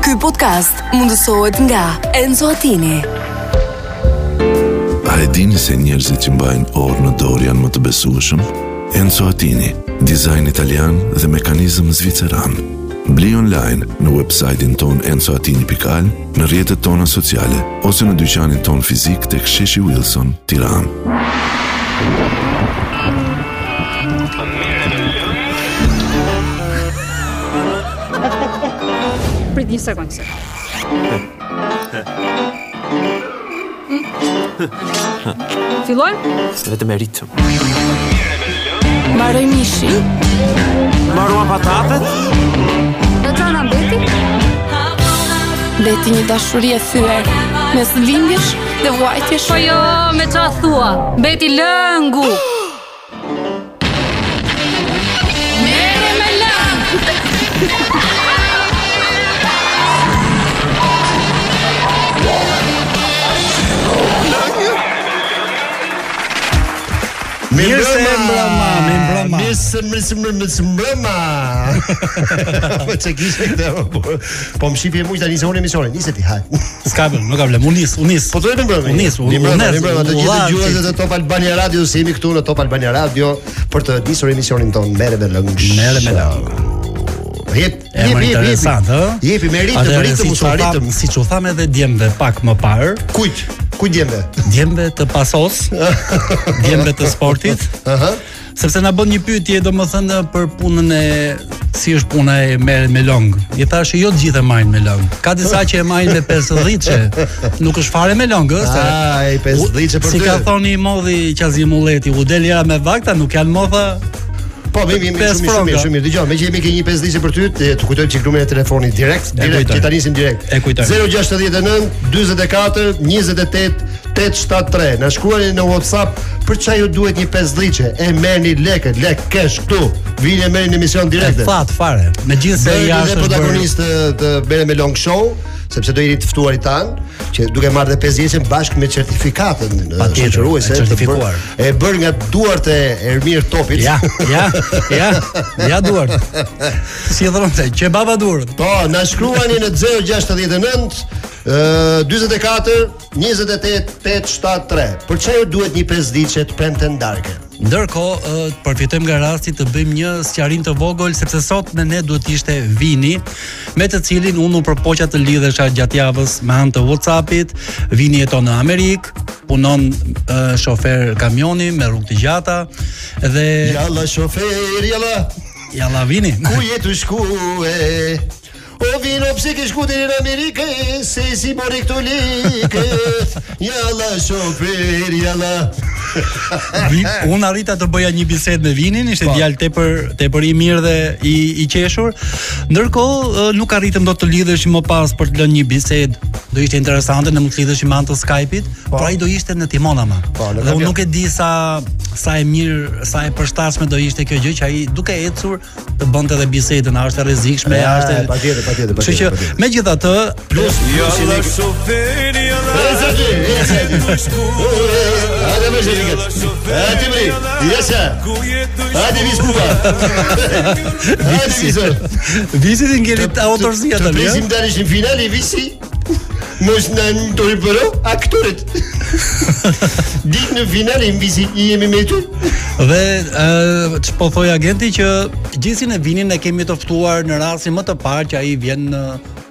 Ky podcast mundësohet nga Enzo Attini. A e dini se njerëzit që mbajnë orë në dorë janë më të besueshëm? Enzo Attini, dizajn italian dhe mekanizëm zviceran. Bli online në website-in ton enzoatini.al, në rjetët tona sociale, ose në dyqanin ton fizik të ksheshi Wilson, tiran. Prit një sekundë se. Fillojmë? vetëm e ritëm. Mbaroj mishi. Marrua patatet? Do të na mbeti? Beti një dashuri e thyer mes lindjesh dhe vuajtjesh. Po jo, me qa thua? Beti lëngu. Mere me lëng. Mirë se mbrëma, mi mbrëma. Mirë se mirë se mirë se mbrëma. Po çe kishte këtë. po, Po më shipi mua tani se unë emisionin, nisi ti haj. S'ka problem, nuk ka problem. Unë nis, unë nis. Po të jemi mbrëma. U nis, u- Jemi mbrëma, u nis, jemi mbrëma të u gjithë la, dëgjuesit ti. e Top Albania Radio, se jemi këtu në Top Albania Radio për të nisur emisionin ton Merë me lëng. Merre me lëng. Jep, E jep, më jep, interesant, jep. ë? Jepi me ritëm, Atëherë, ritëm, siç u mos tham- ritëm. Siç u tham edhe djemve pak më parë, Kujt? Kujt jembe? djemve të pasos, djemve të sportit, Aha. sepse na bën një pyetje domethënë për punën e si është puna e merret me long. I thashë jo të gjithë e marrin me long. Ka disa që e marrin me 50 nuk është fare me long, ë, se Ai, 50 për Si ty. ka thoni i modhi Qazi Mulleti, u del jera me vakta, nuk janë modha. Po, mi, mi, mi, Pesë shumë, mirë, shumë, mirë, franka. shumë, mirë. Dëgjoj, me që jemi ke një 5 dishe për ty, të të kujtojmë që numrin e telefonit direkt, direkt, kujtoj. që ta nisim direkt. E kujtoj. 069 44 28 873. Na shkruani në WhatsApp për çfarë ju duhet një 5 dishe. E merrni lekët, lek kesh këtu. Vini e merrni në emision E direkt. fat fare. Megjithëse Bëni jashtë dhe është bërë protagonist të, të Bere me Long Show, sepse do jeni të ftuarit tan, që duke marrë dhe 5 jesën bashkë me certifikatën e Patjetër, shoqëruese e të bërë- certifikuar. E bër nga duart e Ermir Topit. Ja, ja, ja, ja duart. Si e thronte, që baba duart. Po, na shkruani në 069 ë, 44 28 873. Për çfarë ju duhet një pesdiçe të premte ndarke? Ndërkohë, ë, të përfitojmë nga rasti të bëjmë një sqarim të vogël sepse sot me ne duhet ishte Vini, me të cilin unë u përpoqja të lidhesha gjatë javës me anë të WhatsApp-it. Vini jeton në Amerikë, punon ë, shofer kamioni me rrugë të gjata dhe Jalla shofer, jalla. jalla Vini. Ku je të shkuë? O vino pse ke shku deri në Amerikë, se si mori këtu lekë. Jalla shofer, jalla. Vi- Unë arrita të bëja një bisedë me Vinin, ishte djalë tepër tepër i mirë dhe i i qeshur. Ndërkohë ë, nuk arritëm dot të lidheshim më pas për të lënë një bisedë. Do ishte interesante ne mund të lidheshim me anë të Skype-it, por ai do ishte në Timon ama. Po, në Dhe unë avion. nuk e di sa sa e mirë, sa e përshtatshme do ishte kjo gjë që ai duke ecur të bënte edhe bisedën, a është e rrezikshme, a është. e- E, patjetër, patjetër, Kështu që patjetër, patjetër. megjithatë, Plus, plus i Jalla lekë. shoferi, E, jalla sa ti, e, sa ti. Hajde më shëriket. Hajde më ku je të Hajde vi skupa. Hajde vi zor. vizit i ngelit autorësia Të tani. presim ja? tani në finale visi. Mos në në të ripëro, aktorët. Ditë në finale në visi i jemi me ty. Dhe ë ç'po thoj agenti që gjithsin e vinin e kemi të ftuar në rastin më të parë që ai vjen në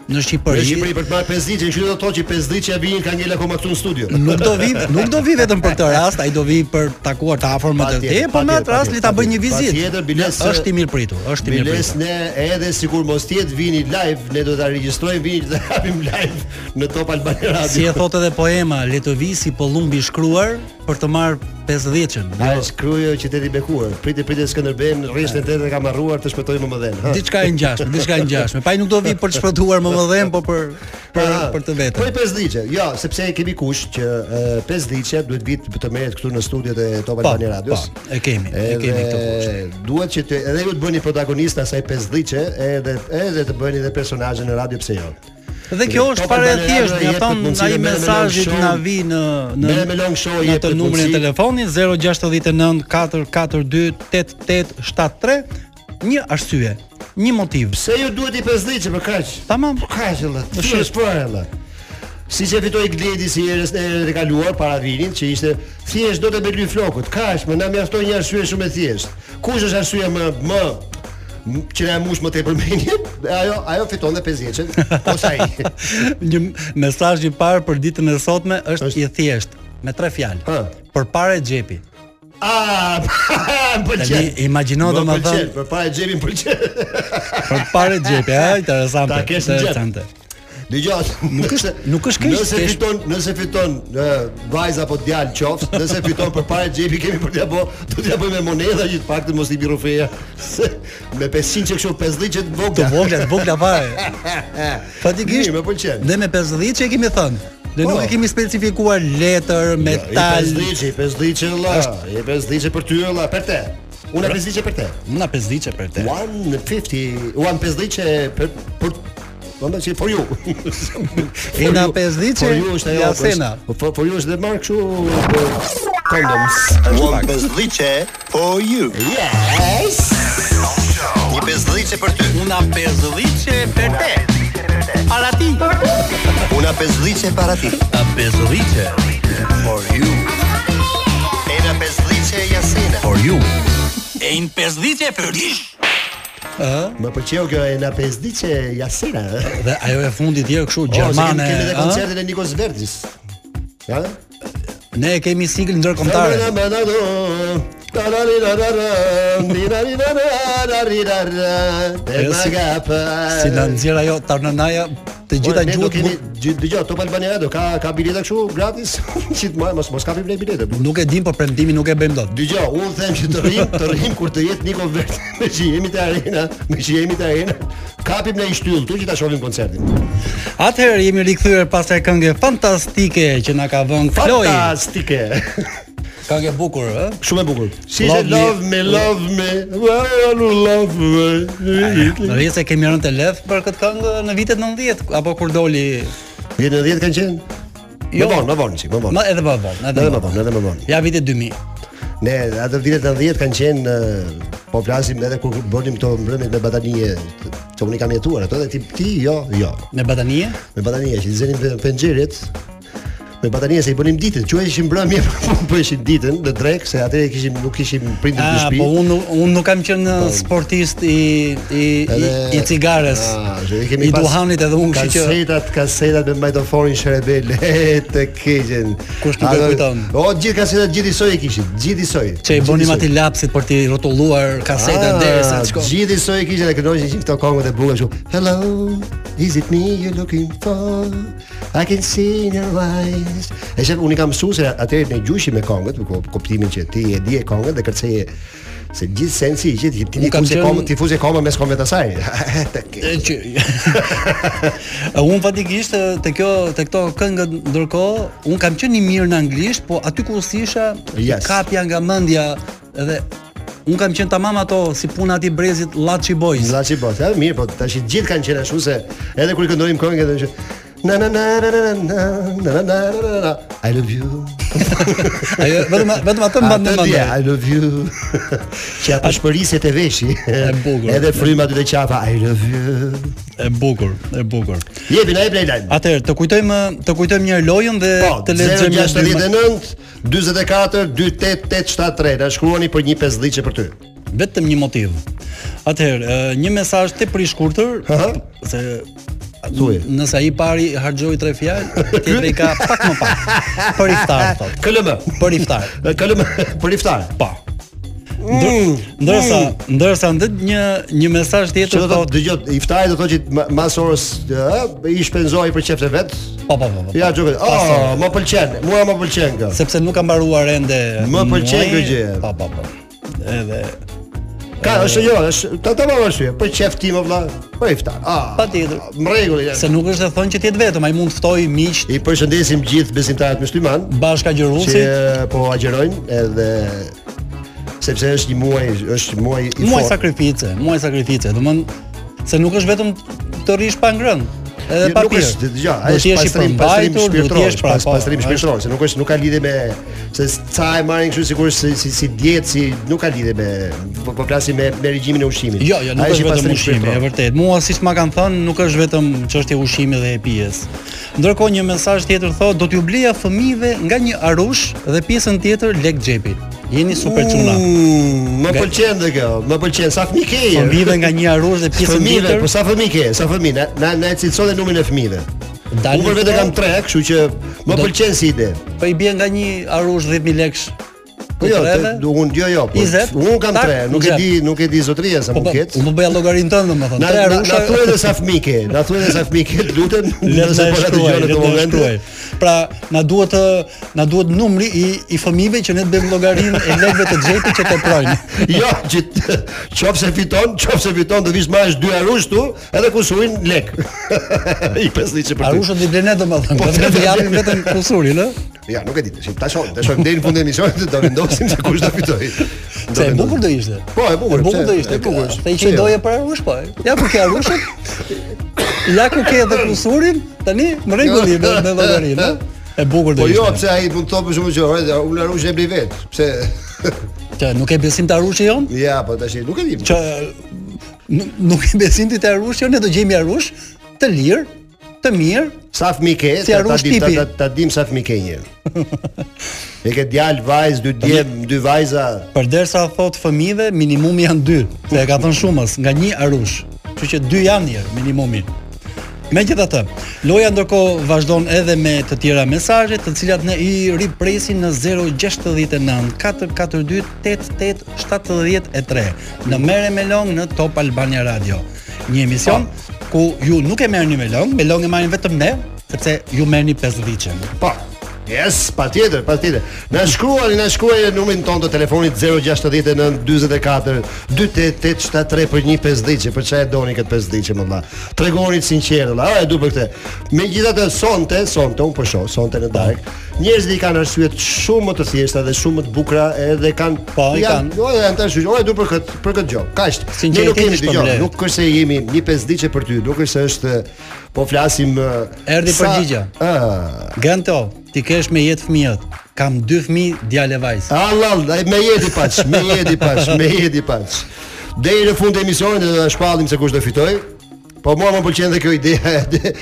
në Në Shqipëri. Shqipëri për të marrë 5 ditë, kështu do të thotë që 5 ditë që vijnë ka ngel akoma këtu në studio. Nuk do vi, nuk do vi vetëm për këtë rast, ai do vi për të takuar të afërmët e tij, Patjetër, po me patjetër, atë rast li ta bëj një patjetër, vizitë. patjetër, biles- është i mirë pritur, është i mirë Biles pritur. ne edhe sikur mos tjetë vini live, ne do ta regjistrojmë vini që ta japim live në Top Albania Si e Radio. thot edhe poema, le të vi si pollumbi shkruar për të marr 50-ën. A e shkrujo qyteti bekuar. Pritë pritë Skënderbeun, rrishën e tetë kam harruar të shpëtoj më më dhën. Ha? Diçka e ngjashme, diçka e ngjashme. Pa ai nuk do vi për të shpëtuar më mëdhen, po për për Ah, për të vetën. Po i pesdhiçe. Jo, sepse kemi kush që e, pesdhiçe duhet vit të merret këtu në studiot e Top Po, Albani po, Radios. e kemi, e Edhe kemi këtë kush. duhet që të, edhe ju të bëni protagonist asaj pesdhiçe, edhe edhe të bëni edhe personazhe në radio pse jo. Dhe kjo është Top fare e Albania thjeshtë, Radio ja jep thon mundësi ai dhe merre me mesazhit long show, na vi në në merre me long show, në jep të numrin e mundësi. telefonit 069 442 8873 një arsye. një motiv. Pse ju duhet i pesdhiçe për kaq? Tamam. Po kaq ella. Po Shumë shit. shpër ella. Si që fitoi Gledi si herës e e kaluar para vinit që ishte thjesht do të bëj flokut. Kaq, më na mjaftoi një arsye shumë e thjeshtë. Kush është arsyeja më më m- që na e mush më tepër mendjen? Ajo ajo fiton dhe po 50-ën ose ai. një mesazh i parë për ditën e sotme është, Është? i thjeshtë me tre fjalë. Ha. Përpara e xhepi. Ah, më pëlqen. Tani imagjino Më pëlqen, domethënë për para e xhepin pëlqen. përpara e xhepi, ha, interesante. Ta kesh në xhep. interesante. Dëgjoj, Nuk është- nuk është keq, Nëse kesh- fiton, nëse fiton e, vajza apo djalë qoftë, nëse fiton përpara xhepi kemi për t'ia bë, do t'ia bëjmë me monedha që të paktën mos i bi rufeja. Se me 500 që kështu 50 që të Të vogla. vogla, të vogla fare. Fatikisht. Mirë, më pëlqen. Dhe me 50 që e kemi thënë. Dhe nuk Po. Jo, e kemi specifikuar letër, metal. 50 i 50 që vëlla, i 50 për ty vëlla, për te. Pra- Unë 50 për te. Na 50 që për te. 150, 150 për për Do të thotë for you. E na 50 që For you është ajo. Jasena. po, For for you është dhe marr kështu e, condoms. One bezdhiqe for you. Yes. Një bezdhiqe për ty. Una 50 që për te. Para ti. Una bezdhiqe para ti. Na 50 që For you. Ena bezdhiqe Jasina. for you. E in pesdhice për ish Më pëlqeu kjo e na pesdiçe Jasena. ë? Dhe ajo e fundit jo kështu eh? O, Po, se kemi gjermane. kemi edhe ë? koncertin e Nikos Verdis. Ha? Ne e kemi single ndërkombëtare. Si na Tararirarar nxjerr ajo Tarnanaja Po, të gjitha gjuhët nuk- Dëgjoj, Top Albania do ka ka bileta kështu gratis. Qit më mos mos kapi blet bileta. nuk e dim po premtimin nuk e bëjmë dot. Dëgjoj, unë them që të rrim, të rrim kur të jetë Niko Vert, me që jemi te arena, me që jemi te arena, kapim në një shtyllë, tu që ta shohim koncertin. Atëherë jemi rikthyer pas e këngë fantastike që na ka vënë Kloi. Fantastike. Këngë e bukur, ë? Shumë e bukur. Si Love love, me. love me, love me, why you love me. Do rrjet se kemi rënë të lef për këtë këngë në vitet 90 apo kur doli Vjetë në 10 kanë qenë? Jo. Më vonë, më vonë, qik, më vonë. Ma edhe më vonë, Po. Edhe më vonë, edhe më vonë. Ja viti 2000. Ne, atë vitet në 10 kanë qenë, eh, po flasim edhe kur bënim këto mbrëmjet me batanije, të- që unë i kam jetuar, ato dhe ti, ti, jo, jo. Me Batanie, Me batanije, që i zenim pe- penxheret, me batanije se i bënim ditën, që ishim mbrëmje, po ishim ditën në drek, se atëre kishim, nuk kishim prindër në a shtëpi. po unë unë nuk kam qenë Po. sportist i i i, i cigares. Ah, që i kemi I pas duhanit edhe unë, kështu që Kasetat, kasetat me majtoforin Shërebel, e të keqen. Kush nuk e Ato- kujton? O, gjithë kasetat gjithë i soi e kishin, gjithë i soi. që i gjithë bënim soi. aty lapsit për t'i rrotulluar kasetën Ah, derisa të shkon. Gjithë i soi e kishin dhe kënojnë që këto kongët e buga shumë. Hello, is it me you're looking for? I can see in your eyes. E shef, unë i kam mësu se atëherë ne gjushim me kongët, me ko- kuptimin që ti e di e kongët dhe kërceje se gjithë sensi i gjithë ti Unë kam fuzje qenë- koma ti fuzje koma mes kongëve të saj. Të keq. E që un fatikisht e, te kjo te këto këngë ndërkohë un kam qenë i mirë në anglisht, po aty ku si isha Yes. kapja nga mendja edhe un kam qenë tamam ato si puna aty brezit Lachi Boys. Zlaçi po, ja mirë, po tash i gjithë kanë qenë ashtu se edhe kur i këndojmë këngë këndojmë që na na na na na na na na na na na na I love you. Ajo vetëm vetëm atë mban Atë në mendje. dia, I love you. Që ato shpërisjet e veshi. E bukur. Edhe fryma aty te qafa I love you. E bukur, e bukur. Jepi na jep lajm. Atëherë të kujdojmë të kujdojmë një herë lojën dhe Po, të lexojmë një dyma- 069 44 28873. Na shkruani për një pesdhiçe për ty. vetëm një motiv. Atëherë, e, një mesazh tepër i shkurtër Aha. se Thuaj. Nëse ai i pari harxhoi tre fjalë, tjetri ka pak më pak. Për iftar thotë. KLM. Për iftar. KLM për iftar. Po. Mm, Ndër- Ndërsa, ndërsa ndët një një mesazh Që tjetër do të thotë, dëgjoj, iftari do të thotë që ma- mas orës ë, i shpenzoi për qeftë vet, po po po. po. Ja, Gjokët. Oh, më pëlqen. Mua më pëlqen kjo. Sepse nuk ka mbaruar ende. Më pëlqen muaji. kjo gjë. Po po po. Edhe Ka, është jo, është ta ta marrësh ti. Për qef tim o vlla. Po i ftar. Ah. Patjetër. Në rregull. ja. se nuk është e thënë që ti jetë vetëm, ai mund të ftoj miq I përshëndesim gjithë besimtarët musliman bashka që gjërusit. po agjerojnë edhe sepse është një muaj, është një muaj i Muaj fortë. sakrifice, muaj sakrifice. Do se nuk është vetëm të rish pa ngrënë. edhe pa Jo, Nuk pirë. është, dëgjoj, Do është t'jesh i pastrim, pastrim përmbajtur, do shpirtëror, t'jesh është pra, pas- po, pastrim është- shpirtëror, se nuk është nuk ka lidhje me se ça e marrin kështu sikur si si, si dietë, si nuk ka lidhje me po po flasim me me regjimin e ushqimit. Jo, jo, nuk Ai është i vetëm pastrim ushqimi, e shpirtëror. vërtet. Mua siç ma kanë thënë, nuk është vetëm çështja e ushqimit dhe e pijes. Ndërkohë një mesazh tjetër thotë, do t'ju bleja fëmijëve nga një arush dhe pjesën tjetër lek xhepi. Jeni super çuna. Mm, Më Nga- pëlqen dhe kjo, më pëlqen sa fëmijë ke. je. Fëmijëve nga një arush dhe pjesën Fëmijëve, tjetër po sa fëmijë ke, sa fëmijë, na na, na e cilson dhe numrin e fëmijëve. dalin. Unë për vetë këto, po, kam 3, kështu që më Do- pëlqen si ide. Po i bie nga një arush 10000 lekësh. Po jo, Kutreve? te- du- unë jo jo, po 20? unë kam Tak, 3, nuk e xhep. di, nuk e di zotëria sa Po mund po, ketë. unë po bëja llogarin tënd domethënë. Na Tre na arusha. na thuaj edhe sa fëmijë ke, na thuaj edhe sa fëmijë ke, lutem, Le të nëse na po na shkruaj, dëgjon në le të këtë na moment. shkruaj. Pra, na duhet të na duhet numri i i fëmijëve që ne të bëjmë llogarin e lekëve të xhepit që teprojnë. Jo, që t- qofse fiton, qofse fiton do vish marrësh dy arush tu, edhe kusurin lek. I pesliçe për ty. Arushët i blenë domethënë, Po, po vetëm vetëm japin jemi. vetëm kusurin, ë? Ja, nuk e di, tash tash tash deri në fund të emisionit do vendosim se kush do fitoj. Do Se e vendosim. bukur do ishte. Po, e bukur, E bukur pse? do ishte. E bukur është. Te Pse që i jo? doje për arush po. Ja ku ke arushët? Ja ku ke edhe kusurin? Tani në rregull i me llogarin, ë? E bukur do Po ishte. jo, pse ai mund të thotë për shkakun që "Ore, unë arush e blej vet." Pse Që nuk e besim të arushi jon? ja, po tash nuk e di. që n- nuk i besim ti të arush, jo ne do gjejmë një arush të lirë, të mirë. Sa fëmijë ke? Si ta- ta arush dim- ta- tipi. ta- Ta dim sa fëmijë ke një. E ke djalë, vajzë, dy djem, dy vajza. Përderisa thot fëmijëve minimumi janë dy, se e ka thënë shumës, nga një arush. Kështu që dy janë mirë minimumi. Megjithatë, loja ndërkohë vazhdon edhe me të tjera mesazhe, të cilat ne i ripresin në 069 442 8873 në Merre me Long në Top Albania Radio. Një emision ku ju nuk e merrni me long, me long e marrin vetëm ne, sepse ju merrni 5 dhicën. Po. Yes, patjetër, patjetër. Na shkruani, na shkruaj numrin tonë të telefonit 069 44 28873 për një 50 që për çfarë e doni këtë 50 që më valla. Tregoni sinqerë, valla. A e du për këtë. Megjithatë sonte, sonte un po shoh, sonte në darkë. Njerëzit i kanë arsye shumë më të thjeshta dhe shumë më të bukura edhe kanë Po, i kanë. Jo, janë tash, jo, e du për këtë, për këtë gjë. Kaq. Ne Sinqeriteti nuk kemi është dëgjoj, problem. nuk është se jemi një 50 që për ty, nuk është se është po flasim ë, Erdi sa- Ah, përgjigja. Ë, Granto, ti kesh me jetë fëmijët. Kam dy fëmijë djalë e vajzë. Allah, Allah, me jeti paç, me jeti paç, me jeti paç. Deri në fund të emisionit do ta shpallim se kush do fitoj. Po mua më pëlqen dhe kjo ideja e de-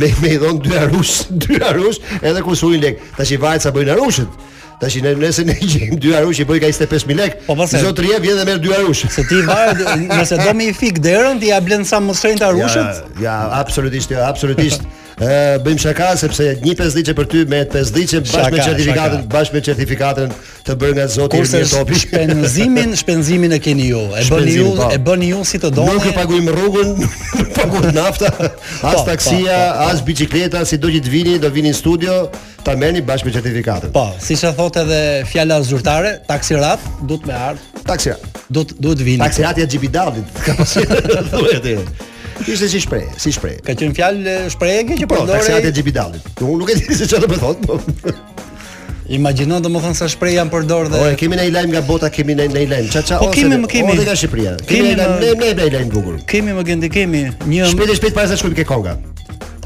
me me i dhon dy arush, dy arush edhe kusurin lek. Tash i vajt sa bëjnë arushët. Tash i ne nëse ne gjejmë dy arush i bëj ka 25000 lek. Po, pse? Zotëria vjen dhe merr dy arush. Se ti varet nëse do me i fik derën, ti ja blen sa më shtrenjtë arushët. Ja, ja, absolutisht, ja, absolutisht. Ë bëjmë shaka sepse një pesdhiçe për ty me pesdhiçe bashkë me Shaka, certifikatën, shaka. bashkë me certifikatën të bërë nga zoti Kurse Irmir Topi. shpenzimin, shpenzimin e keni ju. E bëni ju, Shpenzimin, po. e bëni ju si të doni. Nuk e paguim rrugën, nuk paguim nafta, as Po, taksia, po, po, po. as bicikleta, si do që të vini, do vini në studio, ta merrni bashkë me certifikatën. Po, siç e thot edhe fjala zyrtare, taksirat duhet me ardh, Taksia. duhet duhet vini. Taksiati e Xhibidavit, ka pasi. Thuhet. Ishte si shpreh, si shpreh. Ka qenë fjalë e, shprehje që Po, taksiati e përdore. Xhibidavit. Unë nuk e di se çfarë do të thotë. po. Imagjino domethënë sa shprehje janë përdorë Po, dhe e kemi në lajm nga bota, kemi në në lajm. Ça ça Po, kemi, më kemi. Edhe nga Shqipëria. Kemi Kemi, në më- ne ne ne lajm bukur. kemi më gjendi kemi një Shpejt e shpejt para se shkojmë ke konga.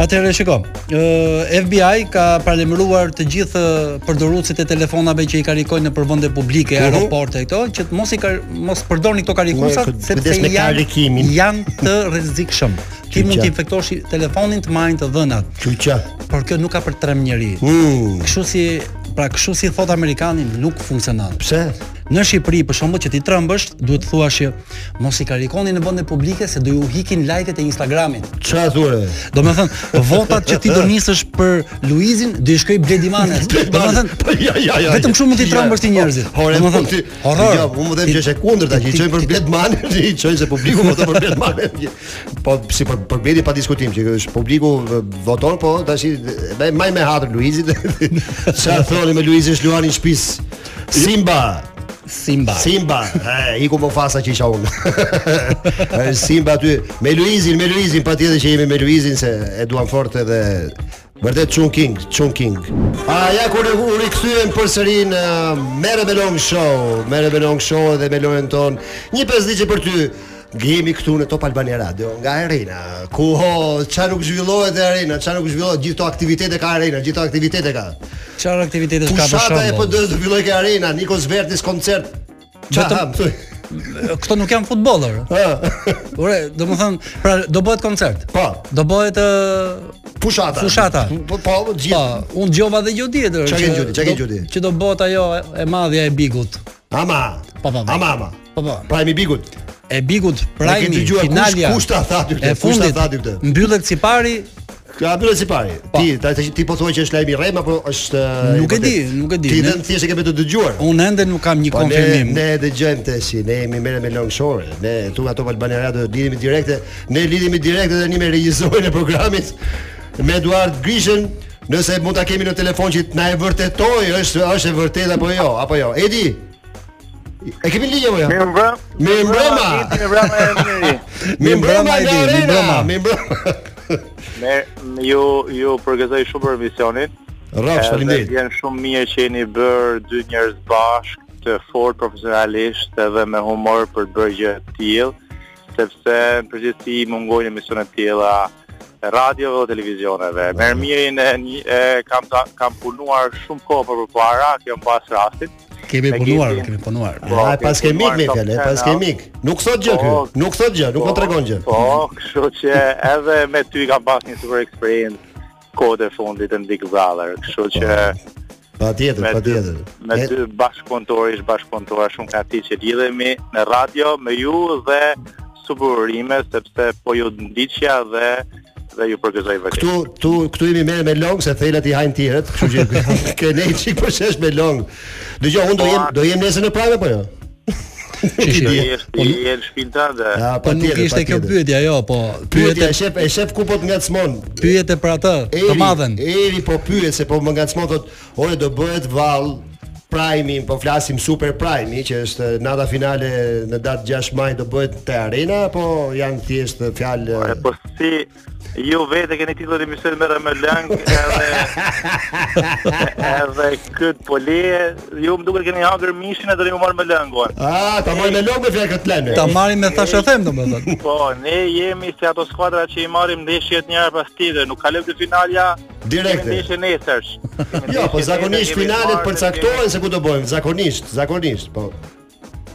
Atëherë shiko, ë, FBI ka paralajmëruar të gjithë ë, përdoruesit e telefonave që i karikojnë në përvende publike, aeroporte e këto, që të mos i kar, mos përdorni këto Me karikuesa këtë- sepse kujdes me janë karikimin. janë të rrezikshëm. Ti mund të infektosh i- telefonin të marrin të dhënat, Qyça. por kjo nuk ka për trem njerëj. Mm. Kështu si pra kështu si thot amerikani nuk funksionon. Pse? Në Shqipëri për shembull që ti trembësh, duhet të thuash që mos i karikoni në vende publike se do ju hikin like-et e Instagramit. Ça thurë? Do me thënë, votat që ti do nisësh për Luizin, do i shkoj Bledimanes. Do me Po, thënë, ja, ja, ja. vetëm kështu mund t'i Ja. trambësh ti njerëzit. Po, Ore, Do me po thënë, ti. horror. Jo, unë më them Ti- që është e kundërta, që i ti- çojnë për ti- Bled Mane, që i çojnë se publiku voton për Bled Mane. Po si për për Bledi pa diskutim, që është publiku eh, voton, po tash i- me- maj me hatër Luizit. Ça thoni me Luizin shluani në shtëpis? Jo. Simba, Simba. Simba, e, iku më fasa që isha unë. E, Simba aty, me Luizin, me Luizin, pa tjetër që jemi me Luizin, se e duam fort edhe Vërtet Chun King, Chun King. A ja kur u rikthyem përsëri në Merë Belong Show, Merë Belong Show dhe me lojën ton. Një pesdhiçe për ty. Gjemi këtu në Top Albania Radio nga Arena. Ku ho, çfarë nuk zhvillohet e Arena, çfarë nuk zhvillohet, gjithë ato aktivitete ka Arena, gjithë ato aktivitete ka. Çfarë aktivitetesh ka për Fushata e shembull? PD-s do filloj ke Arena, Nikos Vertis koncert. Vetëm- Çfarë? Këto nuk janë futboller. Ore, do të thon, pra do bëhet koncert. Po. Do bëhet ë, Fushata. Fushata. Po, po, po, gjithë. unë djova dhe gjë tjetër. Çka që ke gjudi, çka ke do- gjudi? Që do bëhet ajo e madhja e Bigut. Ama. Po, po, po. Ama, ama. Po po. Prajmi Bigut. E Bigut, Ne ke prajmi, dëgjuar kush- finalja. kush ta tha ty këtë? E Kush ta fundit. tha ty këtë? Mbyllet si pari, Ka bërë si pari. Ti ta, ta- ti po thua që është lajmi i rrem apo është eh, Nuk e vërtet? di, nuk e di. Ti Ne- vetëm thjesht e ke për të dëgjuar. unë ende nuk kam një Po ne, konfirmim. ne dëgjojmë të si, ne jemi merë me longshore, ne tu nga Top Albania Radio lidhemi direkte, ne lidhemi direkte tani me regjisorin e programit me Eduard Grishën, nëse mund ta kemi në telefon që na e vërtetoj, është është e vërtetë apo jo, apo jo. Edi. E kemi ligj apo jo? Mirëmbrëm. Mirëmbrëma. Mirëmbrëma e mirë. Mirëmbrëma nga Edi, arena, mirëmbrëma. mirëmbrëma. Merë, ju ju përgëzoj shumë për misionin. Rrafsh, faleminderit. Janë shumë mirë që jeni bërë dy njerëz bashkë të fort profesionalisht edhe me humor për të bërë gjë të tillë, sepse në përgjithësi mungojnë emisione të tilla e radiove dhe televizioneve. Mm. Merë mirin e, një- e kam ta, kam punuar shumë kohë për përpara, kjo mbas rastit. Kemi ne punuar, kemi- kemi punuar. Po, Ai pas ke mik me Top fjalë, ai pas Channel. ke mik. Nuk thot gjë ky, Po, nuk thot gjë, nuk po tregon gjë. Po, kështu që edhe me ty kam pas një super experience kohët e fundit në Big Brother, kështu që Po. Patjetër, me dy, patjetër. me E- dy bashkëpunëtor, ish bashkëpunëtor shumë ka ti që lidhemi në radio me ju dhe suburime sepse po ju ndiqja dhe dhe ju përgëzoj vërtet. Këtu, këtu, këtu jemi merë me long se thelat i hajnë tjerët, kështu që ke ne i çik për shesh me long. Dgjoj, unë do Po, jem do jem nesër në prime apo jo? Shi, shi. Ti Ti- je ti je në shpinë tënde. Ja, Po nuk patjetër, ishte kjo patjetër. pyetja, jo, po Pyetja e pyetja shef, e shef ku po të ngacmon. pyetja për atë, të madhen. Eri po pyet se po më ngacmon thot, "Ore do bëhet vall." Prime, po flasim Super Prime, që është nata finale në datë 6 maj do bëhet te Arena apo janë thjesht E, fjalë? Po si ju vetë keni titullin e misionit me Remë Lang edhe edhe këtë po le ju më duket keni hangër mishin edhe ju marr me lëngun. Ah, ta marr me long me fjalë këtë lajm. Ta marrim me thash e them domethënë. Po, ne jemi si ato skuadra që i marrim ndeshjet një herë pas tjetër, nuk kalojmë te finalja Direkte. kemi ndeshje nesër. Jo, po zakonisht finalet përcaktohen se ku do bëjmë, zakonisht, zakonisht, po.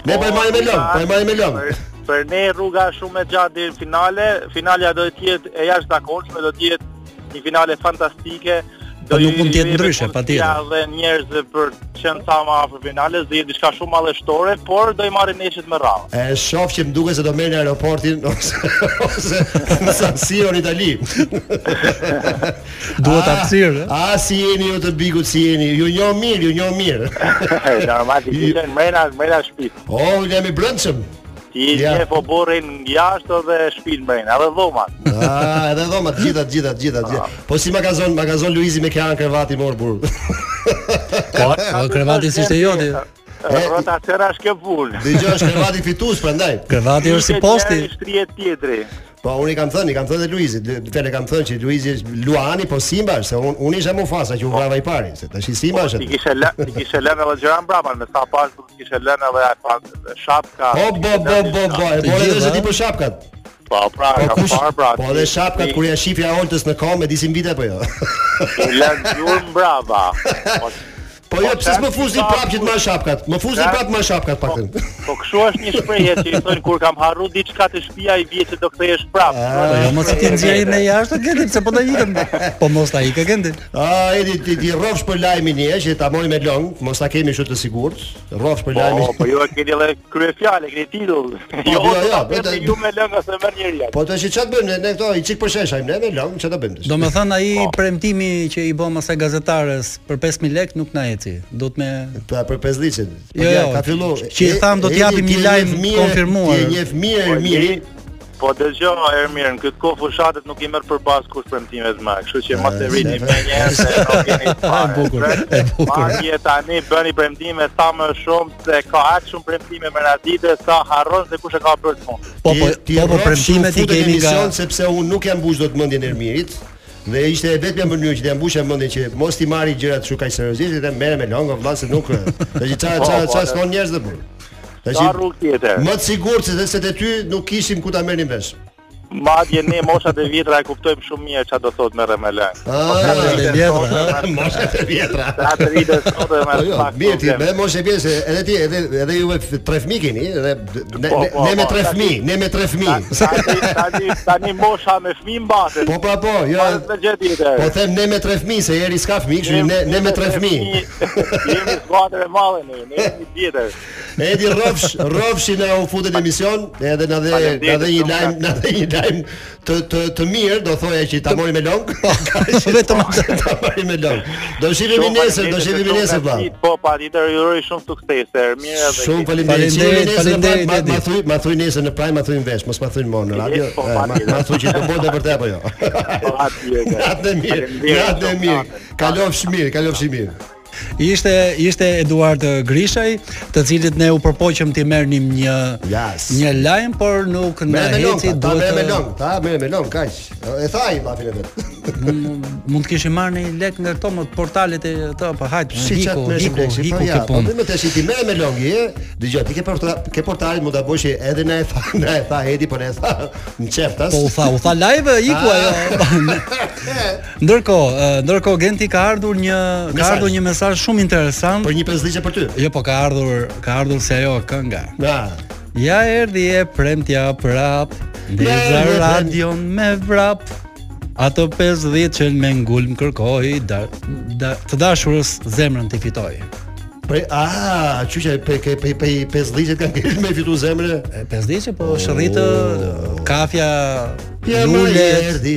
Ne po e marrim me lëm, po e marrim me lëm. Për, për ne rruga është shumë e gjatë deri në finale. Finalja do të jetë e jashtëzakonshme, do të jetë një finale fantastike. Po nuk mund të jetë i- i- ndryshe, patjetër. Ja, dhe njerëz për të qenë sa më afër finales, do jetë diçka shumë mallështore, por do i marrin neshit me radhë. E shoh që më duket se do merr në aeroportin ose ose në San Siro në Itali. Duhet eh? hapësirë. A si jeni ju të bigut si jeni? Ju njoh mirë, ju njoh mirë. Normal ti I- qenë mrena, mrena shtëpi. O, oh, jemi brëndshëm. Ti je Ja. po burrin jashtë dhe shtëpi mrena, edhe dhomat. Ah, edhe dhoma të gjitha, të gjitha, të gjitha, të gjitha. Po si ma ka zon, ma ka zon Luizi me kran krevati mor burr. Po krevati si ishte joti. Rotaciona është kjo punë. Dëgjoj, është krevati fitues prandaj. Krevati është si posti. Një shtrihet tjetri. Po unë i kam thënë, i kam thënë dhe Luizit, dhe vetë kam thënë që Luizi është Luani, po Simba është, se unë unë isha Mufasa që u vrava i pari, se tash i Simba Po, është. Ti kishe lë, ti kishe lënë edhe Gjeran Braman, me sa pas do të kishe lënë edhe ai pas shapka. Po bo bo bo bo, e Të bore gjitha, dhe se ti a? për shapkat. Po pra, Po ka kush? parë pra. Po dhe shapkat kur ja shifja oltës në kom e disim vite apo jo. lën gjurmë brava. Po, Po jo, Po, pse s'më shapkat- fuzni prapë që të marr shapkat. Më fuzni Shapkat- prapë të marr shapkat paktën. po kështu është një shprehje që i thonë kur kam harru diçka të shtëpia i vjen që do kthehesh prapë. Po Ah, jo mos i ti nxjerrim me jashtë gjendit se po ta ikëm. Po mos ta ikë gjendit. A, edi ti ti rrofsh për lajmin një herë që ta moj me long, mos ta kemi kështu të sigurt. Rrofsh për Po, po lajmin. ju e keni edhe kryefjalë, keni titull. Jo, jo, do jo, ta merrni vetëm- ju me lëngë se merr njëri. Po tash çfarë bëjmë ne, ne këto i çik për sheshajm ne me long, çfarë do bëjmë tash? Do me thënë aji Po. premtimi që i bëm asaj gazetares për 5.000 lek nuk na eci. Do të me... Pa për pezllicin. Po Jo, ja, jo, ka fillu. që i tham do t'i japim një lajm konfirmuar. Ti e njeh mirë, mirë. Po dëgjoj Ermir, në këtë kohë fushatet nuk i merr përbas kush premtimet më, kështu që mos e vrini se- me një herë se nuk keni fare. E bukur, e bukur. Madje tani bëni premtime sa më shumë se ka aq shumë premtime me radite sa harron se kush e ka bërë të fund. Po, po, Ti- ti po, po rrofsh, premtimet u i futën kemi nga... emision sepse unë nuk jam mbush dot mendjen e Ermirit dhe ishte e vetmja mënyrë që të jam mbushja mendjen që mos ti marri gjërat kështu kaq seriozisht dhe merre me longo vëlla se nuk. Do të çfarë Po, çfarë po, çfarë dhe- s'kon njerëz të burr. Tash Ka rrugë tjetër. Më të sigurt se dhe se te ty nuk kishim ku ta merrnim vesh. Madje ne moshat e vjetra e kuptojmë shumë mirë çfarë do thotë merrem me lëng. Ah, e vjetra. mosha e vjetra. Sa të rritë sot e Po merr jo, pak. mirë ti, problem. me moshe pjesë, se edhe ti, edhe edhe juve f- tre fëmijë keni, edhe ne- ne, Po, po, ne me po, tre tani- fëmijë, ne me tre fëmijë. Ta- Tani tani tani mosha me fëmijë mbahet. Po pra po, jo. Mbahet me gjë tjetër. Po them ne me tre fëmijë, se eri s'ka fëmijë, kështu ne ne me tre fëmijë. Jemi skuadër e madhe ne, ne jemi tjetër. Edi Rrofsh, Rrofshi na u futet në emision, edhe na dhe Faleminderit, na dhe një shumë lajm, na dhe një lajm të të të mirë, do thoja që ta morim me long. Po, Vetëm ta morim me long. Do shihemi Shumë nesër, do faleminderit shihemi shumë nesër vlla. gatsit, Po, patjetër ju uroj shumë sukses, Ermir edhe. Shumë ekipit. faleminderit. Faleminderit, Shihemi nesër në faleminderit, Prime, ma- Ma Edi. thuj, ma thuj nesër në Prime, ma thuj në vesh, mos ma thuj më në radio. Po, eh, Ma, patjetër. ma thuj që do bëhet e vërtetë apo jo. Po, atje, ka. Natë e mirë, Faleminderit, natë e shumë, mirë. natën. Kalofsh mirë, kalofsh mirë. Ishte ishte Eduard eh, Grishaj, të cilit ne u përpoqëm ti merrnim një Yes. një lajm, por nuk na Merë me long, heci, ta- ta merë me long, ta merë me long, kaq. E thaj vllafin e vet. mund të kishim marrë një lek nga këto më portalet e ato, po hajt, Si çat hiku, më hiku, shplesh, po hiku ja, ke po punë. më tash ti merë me long je. Dgjoj, ti ke portal, ke portalin mund ta bësh edhe na e tha, na e tha Edi, po na e tha në çeftas. Po u tha, u tha live, iku Ah. ajo. ndërkohë, eh, ndërkohë Genti ka ardhur një ka Mesazh. Po, ardhur një mesazh shumë interesant. Për një pesdhice për ty. Jo, po ka ardhur, ka ardhur se ajo kënga. Na. Ja erdhi e premtja prap Ja, Ndeza ja, ja. radion me vrap Ato 50 që me ngulm kërkoj da, da, Të dashurës zemrën të fitoj Po a, çuçi pe pe pe pe pesdhice kanë ngel me fitu zemrën. E 50 që po shërritë Kafja, Oh. Ja më lullet, erdhi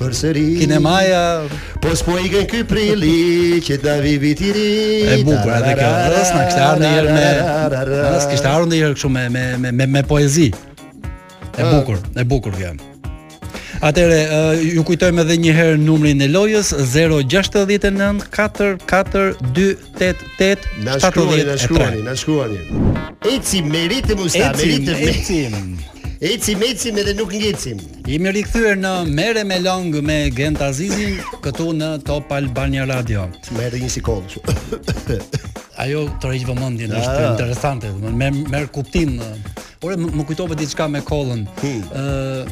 përsëri. kinemaja Po s'po i gën ky prilli që da vivi ti ri. E bukur edhe kjo Rës në kështë arë ndonjëherë me Rës kështë arë ndonjëherë kështu me, me, me, me, me poezi E Ah. bukur, e bukur kjo Atëre, ë, ju kujtojmë edhe një herë numrin e lojës 069 44 288 Na shkruani, na shkruani, 73. na shkruani. Eci meritë musta, Ecim, meritë. me- ecim. Eci mecim edhe nuk ngecim. Jemi rikthyer në Mere me Long me Gent Azizin këtu në Top Albania Radio. Më edhe një sikol. kështu. Ajo tërheq vëmendjen, është Ah. interesante, domethënë merr merr kuptim. Ore më, më kujtove diçka me kollën. Ë Hmm.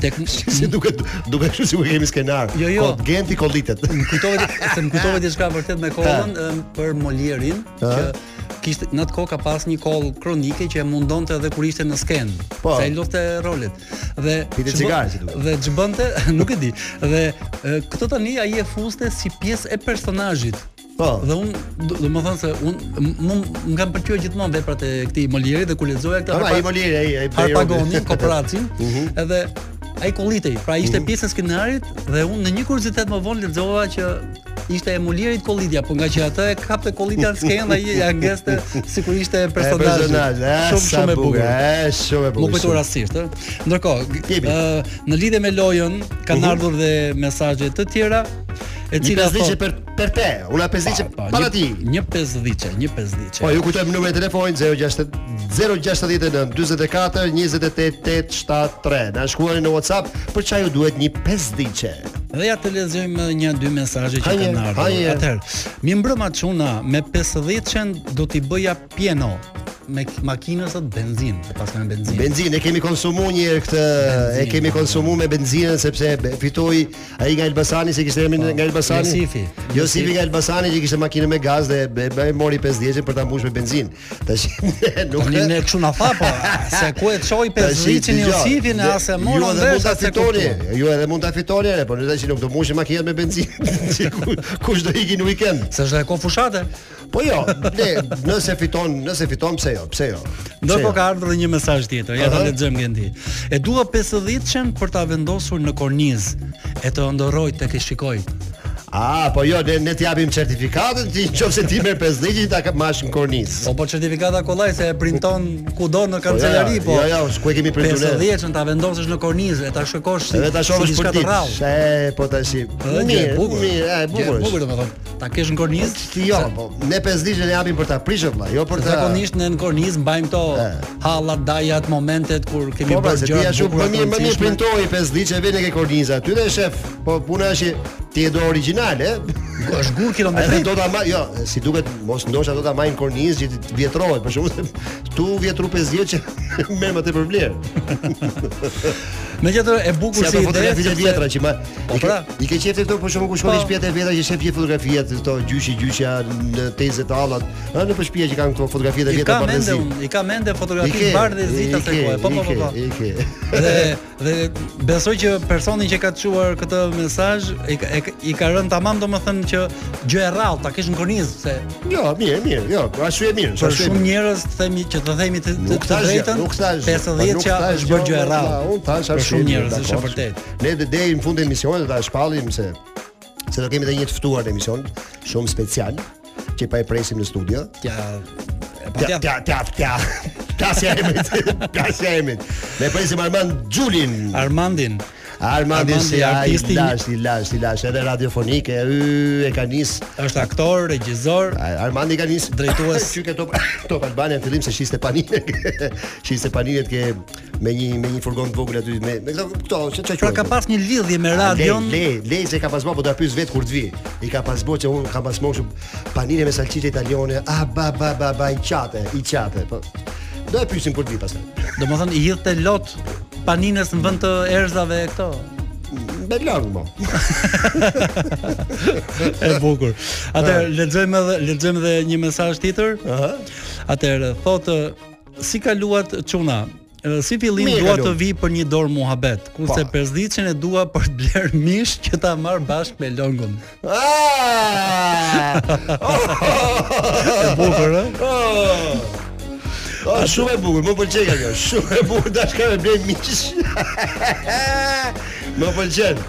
tek Si duket, duket kështu sikur kemi skenar. Jo, jo. Kot genti kolitet. më kujtove di- se më kujtove diçka vërtet me kollën ë, për Molierin që kishte në atë kohë ka pas një koll kronike që e mundonte edhe kur ishte në sken. Po. Se ai lufte rolet. Dhe Pinte ç'bë- cigare, si duket. Dhe ç'bënte, nuk e di. Dhe ë, këtë tani ai e fuste si pjesë e personazhit. Po. Dhe unë, do do më thënë se unë, m- mu më kanë pëlqyer gjithmonë veprat e këtij Molieri dhe kur lexoja këtë Ora harpa- ai Molieri, ai ai Harpagonin, Kopracin, edhe ai kollitej. Pra ishte pjesë e skenarit dhe unë në një kuriozitet më vonë lexova që ishte e Molierit kollitja, po nga që atë e kapte kollitja në skenë ai ja ngeste sikur ishte personazhi. Shumë shumë e bukur. Ë, shumë Ah, e bukur. Më kujtu shumë. rastisht, ë. Ndërkohë, g- Jepi. ë, në lidhje me lojën kanë ardhur dhe mesazhe të tjera, e Një cila pesdhice për për te, una pesdhice Pa, pa, para një- ti. Një 50, një 50. Po, ju kujtojmë numrin e telefonit 069 069 44 28 873. Na shkruani në WhatsApp për çfarë ju duhet një pesdhice. Dhe ja të lexojmë një dy mesazhe që Hajde, kanë ardhur. hajde. Atëherë, mi mbrëma çuna me 50 qen do t'i bëja piano me k- makinës atë benzinë, se pas kanë benzinë. Benzinë e kemi konsumuar një herë këtë, e Benzinë, kemi po, konsumuar me benzinën sepse be- fitoi ai nga Elbasani se kishte emrin nga Elbasani. Josifi. Josifi nga Elbasani që kishte makinë me gaz dhe be- be- mori 50 për ta mbushur me benzinë. Tash nuk Tani ne kështu na tha po, se ku e çoj 50 në Josifin, as e mora morën dhe vesh mund ta as e fitoni. kuptuan. Ju edhe mund ta fitoni, re, por ne tash nuk do mushin makinat me benzinë. Që ku- Kush do iki në weekend? Se është dhe ko fushate. Po jo, ne nëse fiton, nëse fiton pse jo, pse jo. Pse jo? Ndërkohë po ka ardhur dhe një mesazh tjetër, ja ta Aha. lexojmë Gendi. E dua 50 qen për ta vendosur në kornizë, e të ndoroj tek e shikoj. A, po jo, ne, ne t'japim certifikatën, ti nëse ti merr 50 ta ka mash në kornizë. Po po certifikata kollaj se e printon kudo në kancelari po. Jo, jo, s'ku e kemi printuar ne. 50-ën ta vendosësh në kornizë e ta shikosh si. Edhe ta shohësh diçka për të ditë. rrallë. Se po tash. Edhe gjë e Mirë, bukur. mirë, e Gjë bukur. Bukur është. domethënë, ta kesh në kornizë. Ti jo, po ne 50 ne japim për ta prishur vlla, jo për ta. Zakonisht ne në kornizë mbajmë këto E. hallat, dajat, momentet kur kemi Po pra, se bërë ti gjëra ashtu të më bukura. mirë, më mirë printon. printoi 50 që vjen e ke korniza aty dhe shef, po puna është që ti e do origjinale, është gur kilometri. Edhe do ta marr, jo, si duket mos ndoshta do ta marrin kornizë që të vjetrohet, për shkakun se tu vjetru 50 që merr më tepër vlerë. Megjithatë e bukur Si si ato ide, fotografitë sepse- vjetra që ma Po i ke- pra. Po. I ke qeftë këto për shkakun ku shkon në shtëpi e veta që shef gjithë fotografiat këto gjyshi gjyshja në tezë të hallat, ëh në shtëpi që kanë këto fotografi të I vjetra ka mende, bardhëzi. unë, i ka mende I ke, fotografi bardhë dhe zita i se ke, kohë. Po po i po. ke, po. I ke. Dhe dhe besoj që personi që ka të çuar këtë mesazh i ka, e ka- i ka rënë tamam domethënë që gjë e rrallë ta kesh në kornizë se Jo, mirë, mirë, jo, ashtu e mirë, për ashtu e shumë mirë. njerëz të themi që të themi të, të, Nuk të thash gjë, drejtën. nuk thash. gjë, po 50 nuk që thash është bërë gjë e valla, rrallë. Unë thash Për ashtu. shumë e mirë, njerëz është e dakord. vërtetë. Ne dhe deri në fund të emisionit ta shpallim se se do kemi të një të ftuar në emision shumë special që pa e presim në studio. Ja Tja, e patjetër. tja, tja, tja. Plasja e emrit. Plasja e emrit. Ne presim Armand Gjulin. Armandin. Armandi Armandi, si ai artisti- i lash, i lash, i lash, edhe radiofonike, y, e ka nis. është aktor, regjisor, A- Armandi ka nis Drejtues. Qyke Top Top Albania në fillim se shiste panine. shiste paninet ke me një me një furgon të vogël aty me me këto këto ç'a ç'a pra ka pas një lidhje me radion. Le, le, le se ka pasbo, po do ta pyes vet kur të vi. I ka pasbo që un kam pasmo shumë panine me salcicë italiane. Ah ba ba ba ba i çate, i çate. Po. Do e pyesim kur të vi pastaj. Domethënë i hidhte lot paninës në vend të erzave këto. Me lang mo. E bukur. Atëherë lexojmë edhe lexojmë edhe një mesazh tjetër. Aha. Atëherë thotë si kaluat çuna? Edhe Si fillim Mirë dua kaluam. të vi për një dorë muhabet, kurse Pa. përzdiçën e dua për të bler mish që ta marr bashkë me longun. Ah! E bukur, ë? Oh, oh shumë e bukur, më pëlqen ka kjo. Shumë e bukur dash ka me blej mish. më pëlqen.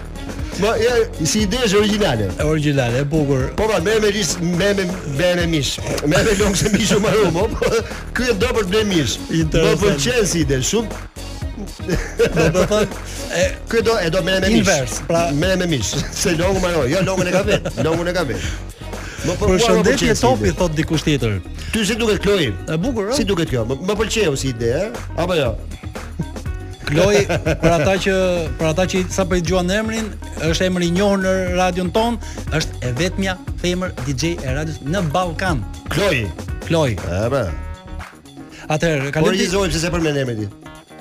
Më ja, si ide është origjinale. E Origjinale, e bukur. Po pra, merr me ris, merr me merr me mish. Merr me longë se mishu më rum, po. Ky e do për të blej mish. Më Interesant. pëlqen si ide, shumë. Do të po, thotë, e Ky do e do merr me mish. Inverse, pra- merr me mish. Se longu më Jo, longën e ka vet. Longën e ka vet. Më po- mua më përshëndetje pëlqen si topi ide. thot dikush tjetër. Ty si duket Kloi? E bukur, ë? Si duket kjo? Më, më pëlqeu si ide, ë? Apo jo? Kloj, për ata që për ata që sa po i dëgjuan emrin, është emri i njohur në radion ton, është e vetmja femër DJ e radios në Ballkan. Kloi. Kloj. A pra. Atëherë, Po kalojmë di- regjizoj pse se përmend emrin ti.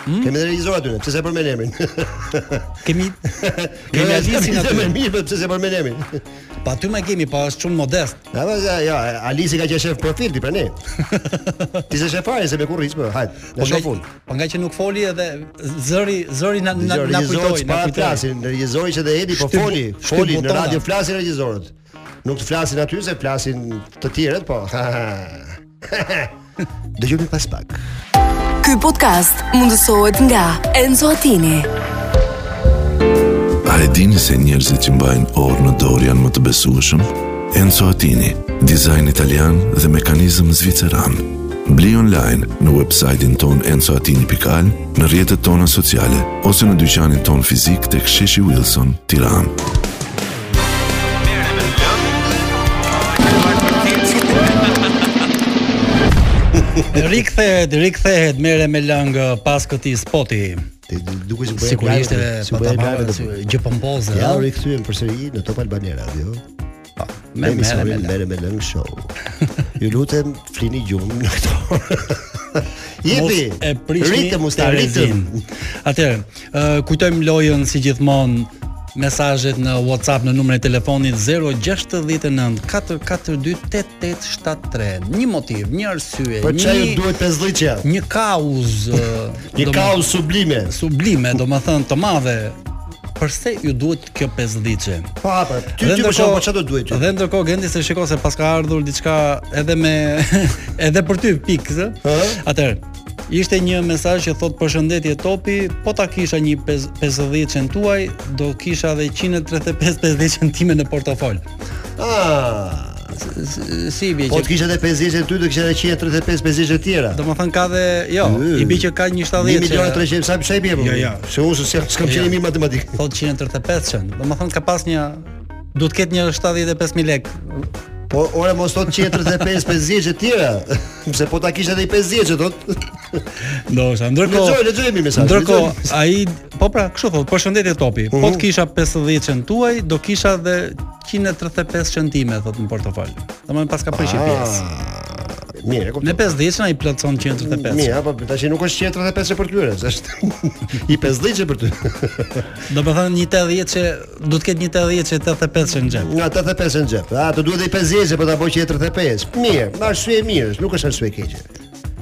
Hmm? Kemi dhe regjizor aty, pse se përmend emrin. kemi kemi Alisin Më aty. mirë, po pse se përmend emrin. Pa ty më kemi, pa është shumë modest. A pra, ja, ja, Alisi ka qenë shef profil ti pra ne. Ti se shefare se me kurriz, po, hajt. Po Ne shoh fund. po nga që nuk foli edhe zëri zëri na na, na kujtoi, na pa kujtoi. flasin, regjizori që dhe Edi po Shtybu- foli, foli në shtybutona. radio flasin regjizorët. Nuk të flasin aty se flasin të tjerët, po. Dëgjojmë pas pak. Ky podcast mundësohet nga Enzo Attini. A e dini se njerëzit që mbajnë orë në dorë janë më të besueshëm? Enzo Attini, dizajn italian dhe mekanizëm zviceran. Bli online në websajtin ton enzoatini.al, në rjetët tona sociale, ose në dyqanin ton fizik të ksheshi Wilson, tiran. Rikthehet, rikthehet, merre me lëng pas këtij spoti. Ti duke po si Sigurisht e si pa bëhet ta lajme marrë do bëhet. gjë po pompoze. Ja ëh? u rikthyem përsëri në Top Albania Radio. Me Me merre me emisionin lëng. Mere me Lëng Show. Ju lutem flini gjumë në këto. orë. Mos Jepi. e prishni ritëm usta ritëm. Atëherë, ë, kujtojmë lojën si gjithmonë mesazhet në WhatsApp në numrin e telefonit 069 442 8873. Një motiv, një arsye, Për Po çaj ju një duhet 5 dhëçja. një uh, kauzë, Një kaos sublime. sublime, domethënë të madhe. Përse ju duhet kjo 50 Pa, pa. Ty ty më shoh, po çfarë do duhet ty? Dhe ndërkohë Gendi se shikoj se paska ardhur diçka edhe me edhe për ty pikë, zë. Ëh. Atëherë Ishte një mesazh që thot përshëndetje topi, po ta kisha një 50-çën tuaj, do kisha edhe 135-50-çën time në portofol. Ah. Si i bie Po që të kishe edhe 50 ty, do kishe edhe 135 50 e tjera. do më thënë ka dhe jo, i bie që ka një 1 70 Mm. milion 300, sa sa i bie? po? Jo, jo. Se unë s'jam s'kam Jo. qenë i mirë matematik. thot 135-çën. Do më thënë ka pas një do të ketë një 75000 lekë. Po ora mos thot 135 50 e tjera, pse po ta kishe edhe i 50 që thot. Ndoshta. Ndërkohë Lexoj, lexoj mi mesazhin. Ndërkohë, lexoj. Mhm. ai po pra, kështu thot, përshëndetje topi. Po të kisha 50-çën tuaj, do kisha edhe 135 centime thot në portofol. Domethënë pas ka prishë pjesë. Ah. Mirë, Ah, e kuptoj. Mm, Në 50-ën ai plotson 135. Mirë, apo tash nuk është 135 për tyre, është i 50 për ty. Do të thonë një 80 që do të ketë një 80 që 85 që në xhep. Nga 85 në xhep. A të duhet dhe i 50 po ta bëj që 35. Mirë, ma arsye e mirë, është, nuk është arsye e keqe.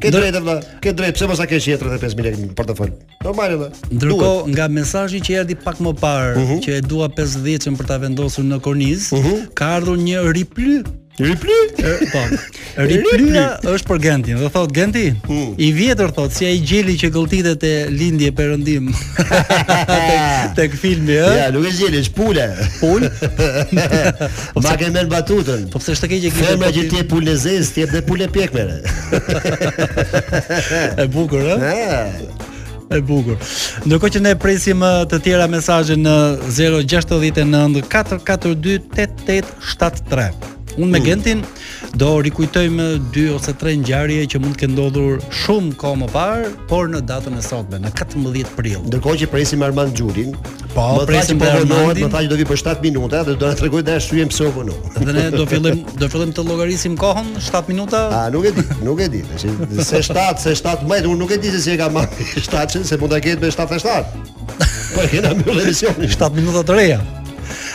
Ke Ndër- drejtë vëlla, ke drejtë, pse mos ta kesh 135 lekë në portofol. Normal vëlla. Duhet. Ndërkohë nga mesazhi që erdhi pak më parë Mhm. që e dua 50-ën për ta vendosur në kornizë, ka ardhur një riply Riply? E, Po. Riplyja është për Gentin. Dhe thot Genti, i vjetër thot si ai gjeli që gëlltitet e lindje perëndim. tek, tek filmi, ë? Ja, nuk e gjeli, është pule. Pul. Po Ma pse- ke merr batutën. Po pse është keq e kishte Femra që po- ti e pulë zez, ti e dhe pulë pjekmere. e bukur, ë? Ah. E bukur. Ndërkohë që ne presim ë, të tjera mesazhe në 069 442 8873. Unë me Gentin do rikujtojmë dy ose tre ngjarje që mund të kenë ndodhur shumë kohë më parë, por në datën e sotme, në 14 prill. Ndërkohë që presim Armand Xhurin. Po, më tha që presim po dhe vonohet, Armandin. më tha që do vi për 7 minuta dhe do na tregoj dash syem pse u vonu. Dhe ne do fillojmë do fillojmë të llogarisim kohën 7 minuta. A nuk e di, nuk e di. Tash se 7, se 17, unë nuk e di se si e ka marrë 7-ën, se mund ta ketë me 77. Po e kena mbyllë emisionin. 7 minuta të reja.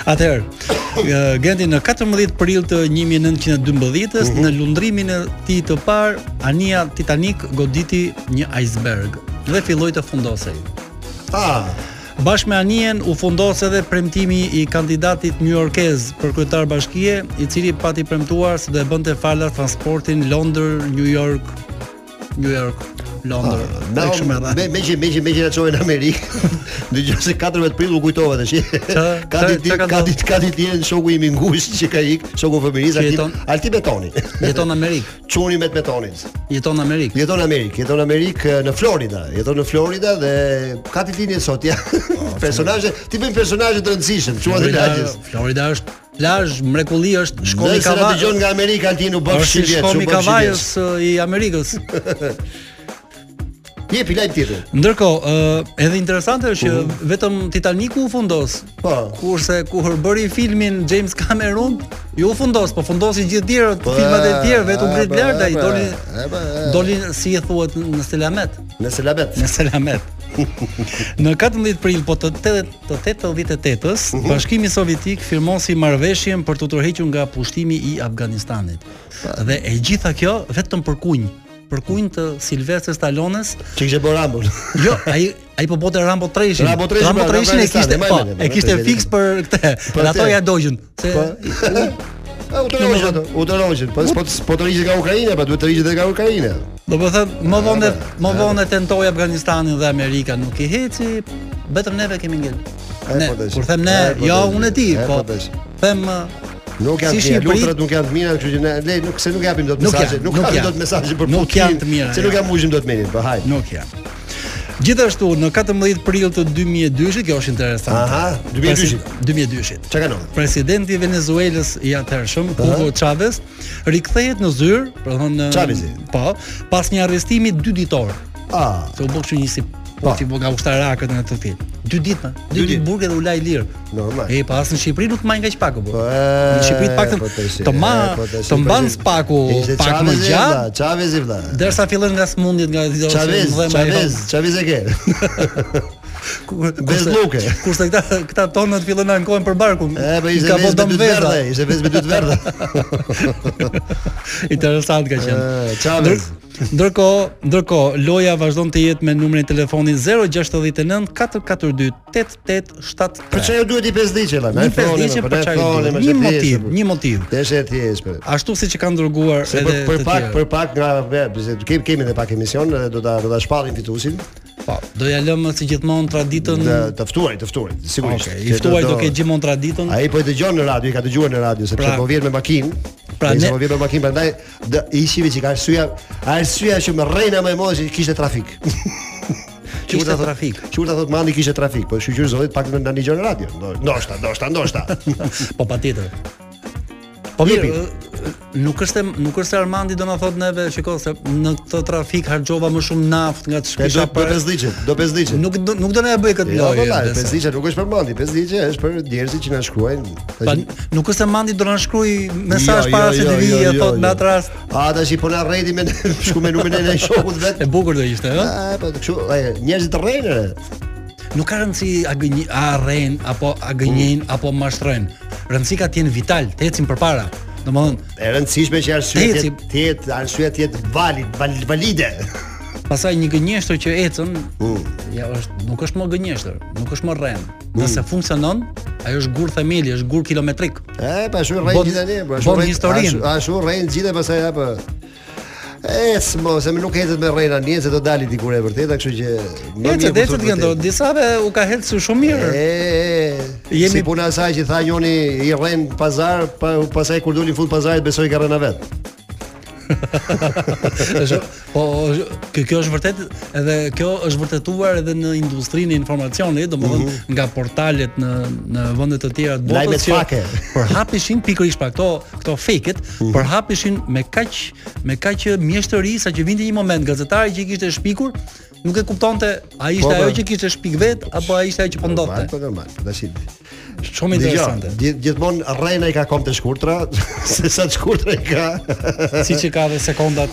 Atëherë, ë, Genti në 14 prill të 1912-s në lundrimin e tij të parë, Ania Titanic goditi një iceberg dhe filloi të fundosej. Ah, Bashkë me Anien u fundos edhe premtimi i kandidatit njujorkez për kryetar bashkie, i cili pati premtuar se do e bënte falas transportin Londër-New York, New York, Londër. na e kështu me radhë. Ah, me me që me që me që na çojë në Amerikë. Dëgjoj se 14 prill u kujtova tash. Ka ç'a- ditë ç'a ka ka ndodhur? ditë ka ditë jeni shoku i mingush që ka ik, shoku fëmiris Që Alti jeton- Alti Betoni. Jeton në Amerikë, Çuni me të Betonin. jeton në Amerikë. Jeton në Amerikë, jeton në Amerikë e, në Florida, jeton në Florida dhe ka ti linje sot ja. Ah, personazhe, ti bën personazhe të rëndësishëm, çuan të Florida, lagjes. Florida është plazh, mrekulli është shkomi Nëse na kavaj. dëgjon nga Amerika Altini u bë Është Ah, si fshi vjet, shkomi u bë kavajës fshi ë, i Amerikës. vjet. Jepi lajm tjetër. Ndërkohë, ë, edhe interesante është që vetëm Titaniku u fundos. Po. Kurse kur bëri filmin James Cameron, ju u fundos, po fundosin gjithë tjerët, filmat e tjerë vetëm e, ngrit po, lart e, ai po, dolin e, po, e. dolin si e thuhet në selamet. Nëse labet. Në selamet. në 14 prill po të tetë- të 88-s, Mhm. Bashkimi Sovjetik firmosi marrëveshjen për të tërhequr nga pushtimi i Afganistanit. Dhe e gjitha kjo vetëm për kunj, për kunj të Silvestri Stallones. Çi kishte bërë Rambo. Jo, ai ai po bote Rambo 3-shin. Rambo 3-shin, pra, e kishte, Afganistani, po, ma e mene, e kishte ma e fiks për këtë. Dhe ato atë. ja dogjën. Se Po. A, U tërhoqën ato, u tërhoqën. Ah, Po po po të rigjet nga Ukraina, po duhet të rigjet edhe nga Ukraina. do po të thënë, më vonë më vonë tentoi Afganistanin dhe Amerika nuk i heci, vetëm neve kemi ngel. E, Ne, po, tash. kur them ne, E, po, jo tash. unë e di, E, po. po, tash. Them Nuk janë Si të mira, Shqipëri- lutrat nuk janë të mira, kështu që ne le nuk se nuk japim dot Nuk mesazhe, janë, nuk nuk japim janë. dot mesazhe për Nuk Putin, janë të mira, Se nuk ja. jam mushim dot menin, po hajde. nuk ja. Gjithashtu në 14 prill të 2002-shit, kjo është interesante. Aha, 2002-shit. Presi- 2002-shit. Çka kanë? Presidenti i Venezuelës i atëhershëm, Hugo Chavez, rikthehet në zyrë, për thonë Chavezi. Po, pas një arrestimi dy ditor. Ah, Se u bë kështu një si Po. po ti bë nga ushtarakët në atë film. Dy ditë, ma, Dy dy ditë ditë. burgë dhe u la i lirë. Normal. E pa as në Shqipëri nuk maj nga që paku. Po. Po, Në Shqipëri të paktën po, tash, të ma e, po, tash, të mban po, tash. spaku Ishte pak më Chavezi, gjatë. vlla, Chavezi vlla. Dersa fillon nga smundjet nga ato Chavez, jo. Chavez, Chavez e ke. Bezlluke. Kurse këta këta tonët fillon na ankohen për barkun. E, po I ishte vezë me dëm dytë veza. verdhe, ishte vezë me dytë verdhe. Interesant ka qenë. E, Chavez. Ndër- Ndërkohë, ndërkohë loja vazhdon të jetë me numrin e telefonit 069 442 8873. Për çfarë ju duhet i pesdhiçe la? Një pesdhiqe po për çfarë? Një motiv, një motiv. Deshe po. e thjesht. po. Ashtu siç e kanë dërguar Se për, edhe për të pak, tjerë. për pak nga ve- se kemi kemi edhe pak emision dhe do ta do ta shpallim fituesin. Po, do ja lëmë si gjithmonë traditën. Të të ftuarit, të ftuarit, sigurisht. Okej, Okay, Mm. i ftuar do ketë gjithmonë traditën. Ai po e dëgjon në radio, i ka dëgjuar në radio sepse Pra- po vjen me makinë. Pra Pra ne ne- po vjen me makinë, prandaj dë- i shivi që ka arsyeja, arsyeja që më rrena më e moshi kishte trafik. Që kur ta Kishte thot- trafik. Që kur ta thot Mandi kishte trafik, po shqyqyr zotit pak në dëgjon në radio. Ndo- Ndoshta, ndoshta, ndoshta. Po patjetër. Po Jepi. mirë, ë, nuk është e- nuk është se Armandi do na thotë neve, shikoj se në këtë trafik harxova më shumë naftë nga Ka të do shpisha do për pesdhiçe, do pesdhiçe. Nuk do, nuk do na e bëj këtë Jo, lojë. vallaj, besoj. pesdhiçe nuk është për mandi, pesdhiçe është për njerëzit që na shkruajnë. Pa, nuk është se Mandi do na shkruaj Jo, mesazh para se të vijë, thot në atë rast. A tash i po na rreti me shku me numrin e shokut vet. E bukur do ishte, ëh? A, po kështu, ai njerëzit rrejnë. re. Nuk ka rëndësi a gënj a rren apo a Mm. gënjen apo mashtrojnë. Rëndësi ka të jenë vital, të ecin përpara. Domethënë, E rëndësishme që arsyeja të jetë- të jetë arsyeja të jetë valid, val- valide. pasaj një gënjeshtër që ecën, ja është nuk është më gënjeshtër, nuk është më rren. Mm. Nëse funksionon, ajo është gur themeli, është gur kilometrik. E, pa shumë rrejnë Bon- gjithë tani, po bon shumë historinë. A shumë rrejnë gjithë e pastaj apo E, s'mo, se më nuk ecet me rrejna një, se do dalit dikur e vërteta, kështu që... më mirë kur Ecë, ecë thuhet të këndo, vërtetën. disave u ka helsu shumë mirë. E, e, Jemi- si puna e saj që tha njoni i rren pazar, pa, pasaj kur doli në fund pazarit besoi ka rënë vet. Është- po është- kjo, kjo është vërtet edhe kjo është vërtetuar edhe në industrinë e informacionit, domethënë nga portalet në në vende të tjera të Mhm. Lajmet botës fake. Mhm. përhapishin pikërisht pa këto këto fake-et, përhapishin me kaq me kaq mjeshtëri sa që vinte një moment gazetari që i kishte shpikur nuk e kuptonte a ishte Po, po. ajo që kishte shpik vet apo a ishte ajo që po ndodhte. Normal, po normal. Po tash. Shumë interesante. Dgjoj, gjith- gjithmonë rrena i ka kom të shkurtra, se sa të shkurtra i ka. Siç e ka edhe sekondat.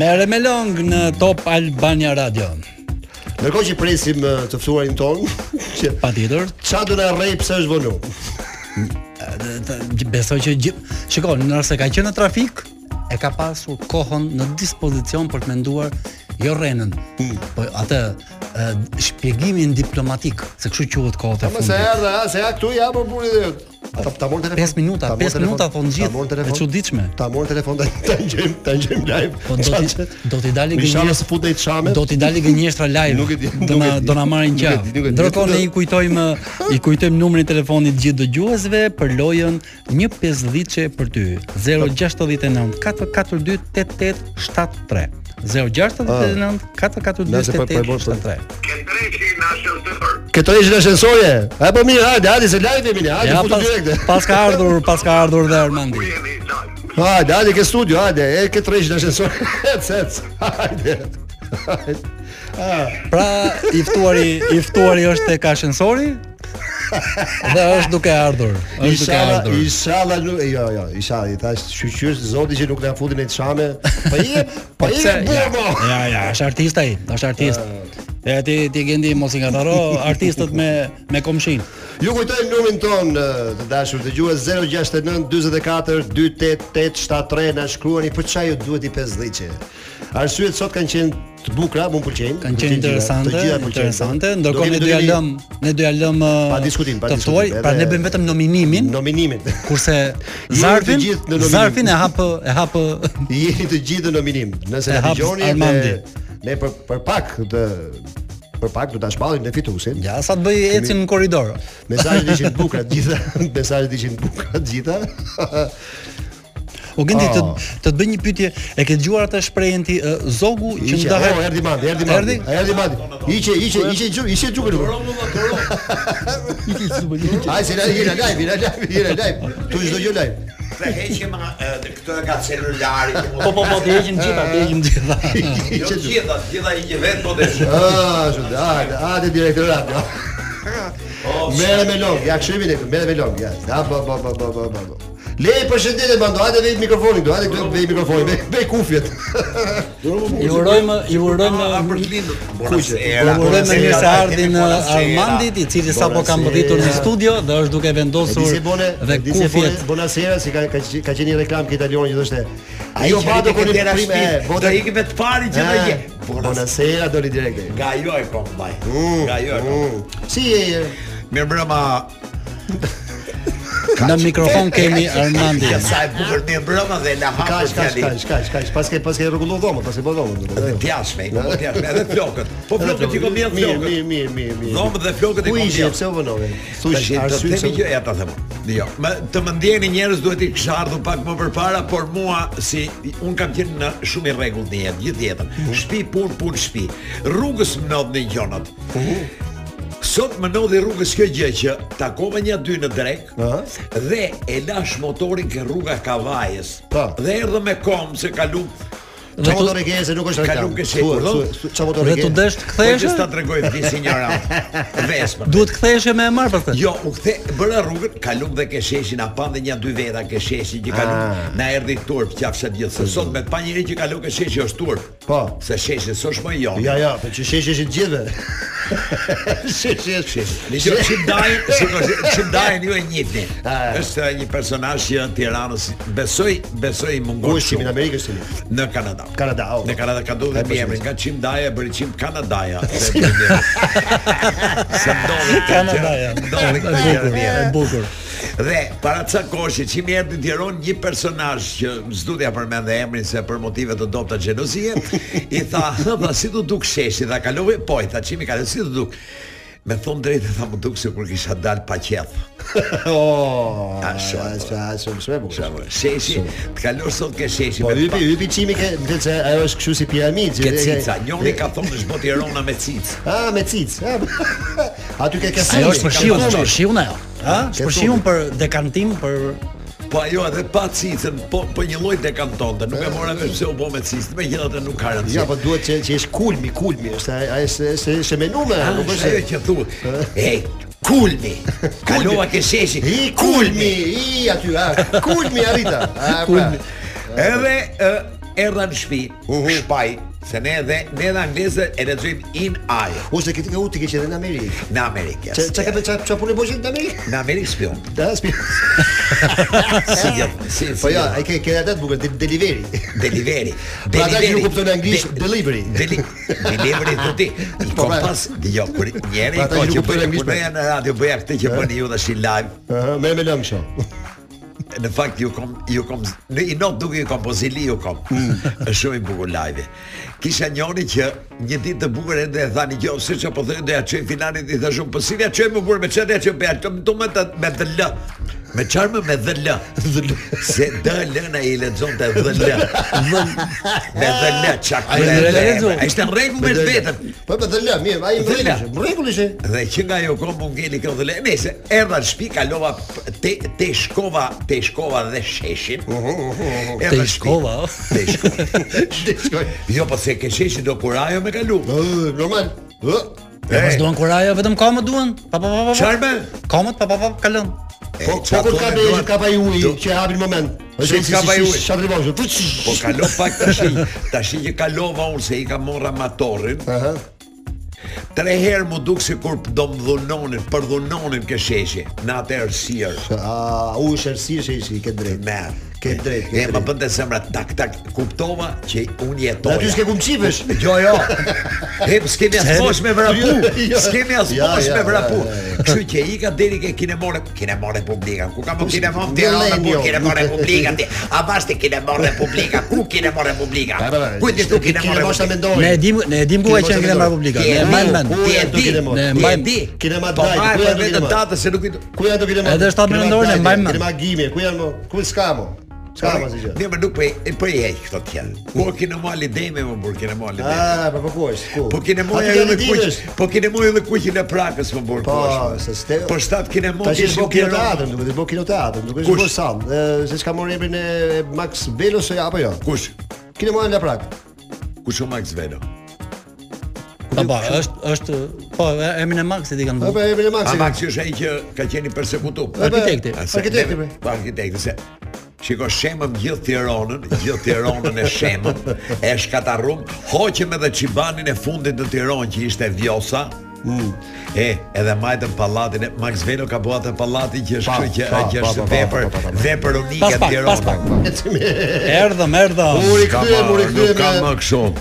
Merre me long në Top Albania Radio. Ndërkohë që presim eh, të ftuarin ton, që Patjetër. ça do na rrej pse është vonu. Dhe- dhe- Besoj që gjë... Shikon, nëse ka qenë në trafik, e ka pasur kohën në dispozicion për të menduar jo rrenën, Hmm. po atë e, shpjegimin diplomatik, se kështu quhet kohët e Mos e fundit. erdha, a, se ja këtu ja po burri dhe. Ta, ta morë telefon. 5 minuta, Ta morë 5 telefon. minuta thon Ta morë gjithë. E telefon. çuditshme. Ta morë telefon ta ta ngjejm, ta ngjejm live. Po do ti do ti dali Inshallah gënjesht se futej të shamet. do ti dali gënjeshtra live. Nuk e di, Do nuk na e di. do na marrin Nuk e di, nuk e gjë. di. Ndërkohë ne i kujtojmë i kujtojmë numrin e telefonit gjithë dëgjuesve për lojën 150 për ty. 069 442 8873. 069 442 Nëse po- po e bën- 8873. Këto ishin ashensorje. A po mirë, hajde, hajde se live jemi ne, hajde Ja futu pas, direkte. pas ka ardhur, pas ka ardhur dhe Armandi. Hajde, hajde ke studio, hajde. E ke tre ishin ashensorje. Ec, ec. Hajde. Hajde. Pra i ftuari, i ftuari është tek ascensori dhe është duke ardhur. Është duke Inshallah, ardhur. inshallah, nuk- jo, jo, inshallah, i thash shqyqysh zoti që nuk na futin në çame. Po i jep, po i pse- jep ja, burmo. ja, ja, është artist ai, është artist. E ti ti gjendi mos i ngataro artistët me me komshin. Ju kujtojmë numrin ton eh, të dashur dëgjues 069 44 28873 na shkruani për çfarë ju duhet i 50 Arsyet sot kanë qenë të bukura, më pëlqejnë. Kanë Më pëlqejnë gjitha, qenë interesante, të gjitha pëlqejnë. interesante, Do ndërkohë kemi- ne do ja kemi lëm, ne do ja lëm uh, Pa diskutim, pa të diskutim, ftuarit, pra edhe- ne bëjmë vetëm nominimin, nominimin. kurse Ju Zarfin, të gjithë në nominim. Zarfin e hap e hap Jeni të gjithë në nominim. Nëse E na hap dëgjoni ne, Armandi. ne për për pak të për pak do ta shpallim në fituesin. ja sa të bëj ecin në korridor. Mesazhet ishin të bukura të gjitha, mesazhet ishin të bukura të gjitha. U gjendi të Ah. të të bëj një pyetje, e ke dëgjuar atë shprehjen ti ë, zogu që Iqe, ndahet o, erdhi Oh, mandi, erdhi mandi. Erdhi? Erdhi mandi. Iqe, iqe, iqe, iqe, iqe gjukë. Ai se na jena live, jena live, jena live. Tu çdo gjë live. Dhe heqim eh, dhe këto e ka celulari. Po po po, ti heqin gjitha, ti heqin gjitha. Jo Iqe të gjukë. gjitha, të gjitha i që vetë po të shumë. Ah, shumë. Hajde, hajde direktorat. ja. Merre me log, ja kshimi ne, merre me log, ja. Da ba ba ba ba ba. ba. Le i përshëndetje bando, hajde vej mikrofonin këtu, hajde këtu vej mikrofonin, vej- vej kufjet. Ju urojmë, ju urojmë A për të lindur. Ju po, Buonasera. Pra, urojmë mirë se ardhin uh, Buonasera. Armandit, i cili sapo ka Buonasera. mbërritur në studio dhe është duke vendosur Disi bone, dhe disi bone, kufjet. bonasera si ka ka qe- ka qenë një reklam këtë italian që thoshte. Ai "Jo, që vado vado con keni il dera primo, shpi. eh, vota- Do ikim me të pari që do je. Eh, Bonasera doli direkt. Nga joj po mbaj. Nga joj. po. Mm. Si je? Mirë mbrëma. Në mikrofon kemi Armandin. Ja sa e bukur mirë mbrëma dhe la hapur Kaç kaç fjali. kaç kaç kaç pas ke pas ke rregullu dhomën, pas ke bë dhomën. domethënë. Djashme, po po djashme, edhe flokët. Po flokët i kom mirë Mirë, flokët. mirë, mirë, mirë, mirë. Dhomë dhe flokët i Ku kom ishe mirë. pse u vënove? Tash Thuaj do të arsye themi që pse. ja ta them. unë. Jo, më të më ndjeni njerëz duhet i kisha ardhur pak më përpara, por mua si un kam qenë në shumë i rregullt në Mhm. Mhm. jetë, gjithë jetën. Shtëpi, punë, punë, shtëpi. Rrugës më ndodhin gjërat. Sot më ndodhi rrugës kjo gjë që takova një aty në drek dhe e lash motorin ke rruga Kavajës. Po. Dhe erdhe me kom se kalum Qa motor e ke se nuk është reklam. Kalum ke Thuaj, shekur, thuaj, do? qa motor e Dhe ke? tu desh të ktheheshe? Po që s'ta tregoj vdis ignorant. Vespa. Duhet ktheheshe me e marr pastaj. Jo, u kthe bëra rrugën, kalum dhe ke sheshin, a pan dhe një dy veta ke sheshin që Ah. kalum. Na erdhi turp qafsha gjithë. Se sot me pa njëri që kalon ke sheshi është turp. Po. Se sheshi s'është më jo. Ja, ja, po që shesh është gjithë. shesh është. Në që që dajnë, si po që dajnë ju e njëtni. Ah. Është uh, një personazh që në Tiranës besoj, besoj i mungon Ku është qimi në Amerikë është qimi? Në Kanada. Kanada, o. Në Kanada ka ndodhur E, me po, emrin shumë. nga Qim Daja bëri Qim Kanadaja. Dhe bëri- Se Jo, ndodhi këtë Kanadaja. gjë, Ndodhi E këtë bukur, gjë. e bukur. Dhe para ca kohësh që më erdhi në Tiranë një personazh që s'dutja përmend dhe emrin se për motive të dobta xhenozie, i tha, "Hë, tha, si do duk sheshi?" Tha, "Kalove po." I tha, "Çimi ka, si do duk?" Me thon drejtë tha më duk se kur kisha dal pa qef. Oh, ashtu. Ashtu, shumë e bukur. Sheshi, të kalosh sot ke sheshi Po me hypi, pa- hypi qimi ke, më thënë se ajo është kështu si piramidë. që- Ke cica, njoni ka thonë është botë Tirana me cicë. Ah, me cic. ah, Aty ke kafe. Ajo është për shiun, është për shiun ajo. Ha? Është Ke për shiun për dekantim për Po ajo edhe pa cicën, po po një lloj dekantonte, nuk e mora vesh pse u bë me cicë. Megjithatë nuk ka rëndësi. Ja, po duhet që që është kulmi, kulmi, është ai ai është është është menume, Ah, nuk është është. ajo që thu. Ej, kulmi. Kalova ke sheshi. I kulmi, i aty, ah, kulmi arrita. Ah, kulmi. Kulmi. Edhe ë, erdha në shtëpi, shpaj, se ne edhe ne edhe anglezë e lexojmë in aje. Ose ti ke u ti ke qenë në Amerikë. Në Amerikë. Çe yes. çe ka çe çe punë bojë në Amerikë? Në Amerikë spion. Da, spi. Si gjë. Si. jo. Po ja, ai ke ke atë bukur del- delivery. Delivery. Pra ata që Delivery. nuk kuptojnë anglisht, De- delivery. Deli, delivery të ti. I Po, pra. kompas, jo, kur njeri Pra, i ata ko që që kuptojnë bëja anglisht, punoja në radio, bëja këtë që bëni ju dhe shi live, Ëh, merr me lëngshë. në fakt ju kom ju kom në i not duke ju kom po zili ju kom. Është shumë i bukur live. Kisha njëri që një ditë të bukur ende e thani jo se çfarë po thënë do ja çoj finalit i thashun po si ja çoj më bukur me çfarë do ja çoj bëja të me të me të l. Me çfarë më me dhë l. Se dë lëna i lexonte dhë l. Me dhë l çak. Ai e lexon. Ai është në rregull me vetën. Po po del, mirë, ai Del, mbrekulish, mbrekulish. Dhe që nga jo kom mund ngeli kjo dhe le Nese, erdha në shtëpi, kalova p- te, te shkova Te shkova dhe sheshin Mhm, Erdha te në shtëpi. shkolla. o. Te shkova Shkoj. Jo, po se ke sheshin do kurajo me kalu Ëh, normal. Ëh. Ja mos duan kurajo, vetëm kamët duan. Pa pa pa pa, pa. Qarë me? Kamët pa pa pa kalon. E, Po qa po kur ka thone bëj duat- ka pa uji Do- që hapin moment. Shumë ka pa uji. Çfarë do të Po kalo pak tash. Tash që kalova unë se i ka morra matorrin. Aha. Tre herë mu duk si kur do më dhunonin, për dhunonin ke sheshi, në atë erë sirë. A u shërsish e ishi, ke drejt. Me. Ke drejt, E ke më drejt. bënte zemra tak tak, kuptova që unë jetoja. Dhe aty s'ke kumqipesh. Jo, jo. He, s'kemi as bosh me vrapu. Jo. S'kemi as Ja, bosh ja, me vrapu. ja, ja, Kështu që ika deri ke kinemore, kinemore publika. Ku ka më kinemore s'ke- Tirana, ku Millennium. kinemore publika ti. A bashte kinemore publika, ku kinemore publika. Pa, pa, pa. Ku ti tu kinemore Kinemore sa publika? mendoj. Ne e dim, ne e dim ku ka qenë Kinema Republika. Ne e mbajmë mend. Ku Ti e janë këto di, kinemore? ne Ne e mbajmë. di. Kinema Po Dajt, marrë ku janë këto vetëm kinemore? datë se nuk i Ku janë do kinemore? Edhe 7 mendojnë, e mbajmë mend. Kinema Gime, ku janë mo? Ku s'ka mo? S'ka mo si gjë. Ne më nuk po e po i heq këto të tjerë. Po kinemali deme më bur kinemali deme. Ah, po po ku është? Ku? Po kine mojë Aty edhe kanë dhe kuq, ditësh. po kine mojë edhe kuqin e prakës më burë Po, se ste- Po shtat kine mojë Tash që është shumë bërë kine kinoteatrin, duhet të bëj kinoteatrin, duhet të Kush? bëj sallë. Ë, Se çka morën emrin e Max Velos apo jo? Kush? Kinema në Laprak. Kush o Max Velo? Pa pa, është është po e- emrin e Maxit i kanë Apo dhënë. emrin e A Maxit. Max është ai që ka qenë i persekutu Arkitekti. A se- Arkitekti, ne- bre. Po arkitekti se Shiko shemëm gjithë Tiranën, gjithë Tiranën e shemëm, e shkatarrum, hoqëm edhe Çibanin e fundit në Tiranë që ishte Vjosa. Mm. E, edhe majtën pallatin e Max Velo ka bua atë pallatin që është Pa, kështu që pa, që pa, është pa, pa, vepër, pa, pa, pa, pa. vepër unike Pas e pak, pas pak. Tiranës. Erdhëm, erdhëm. U Ka rikthyem, pa, u Nuk ka më rikthyem. kështu.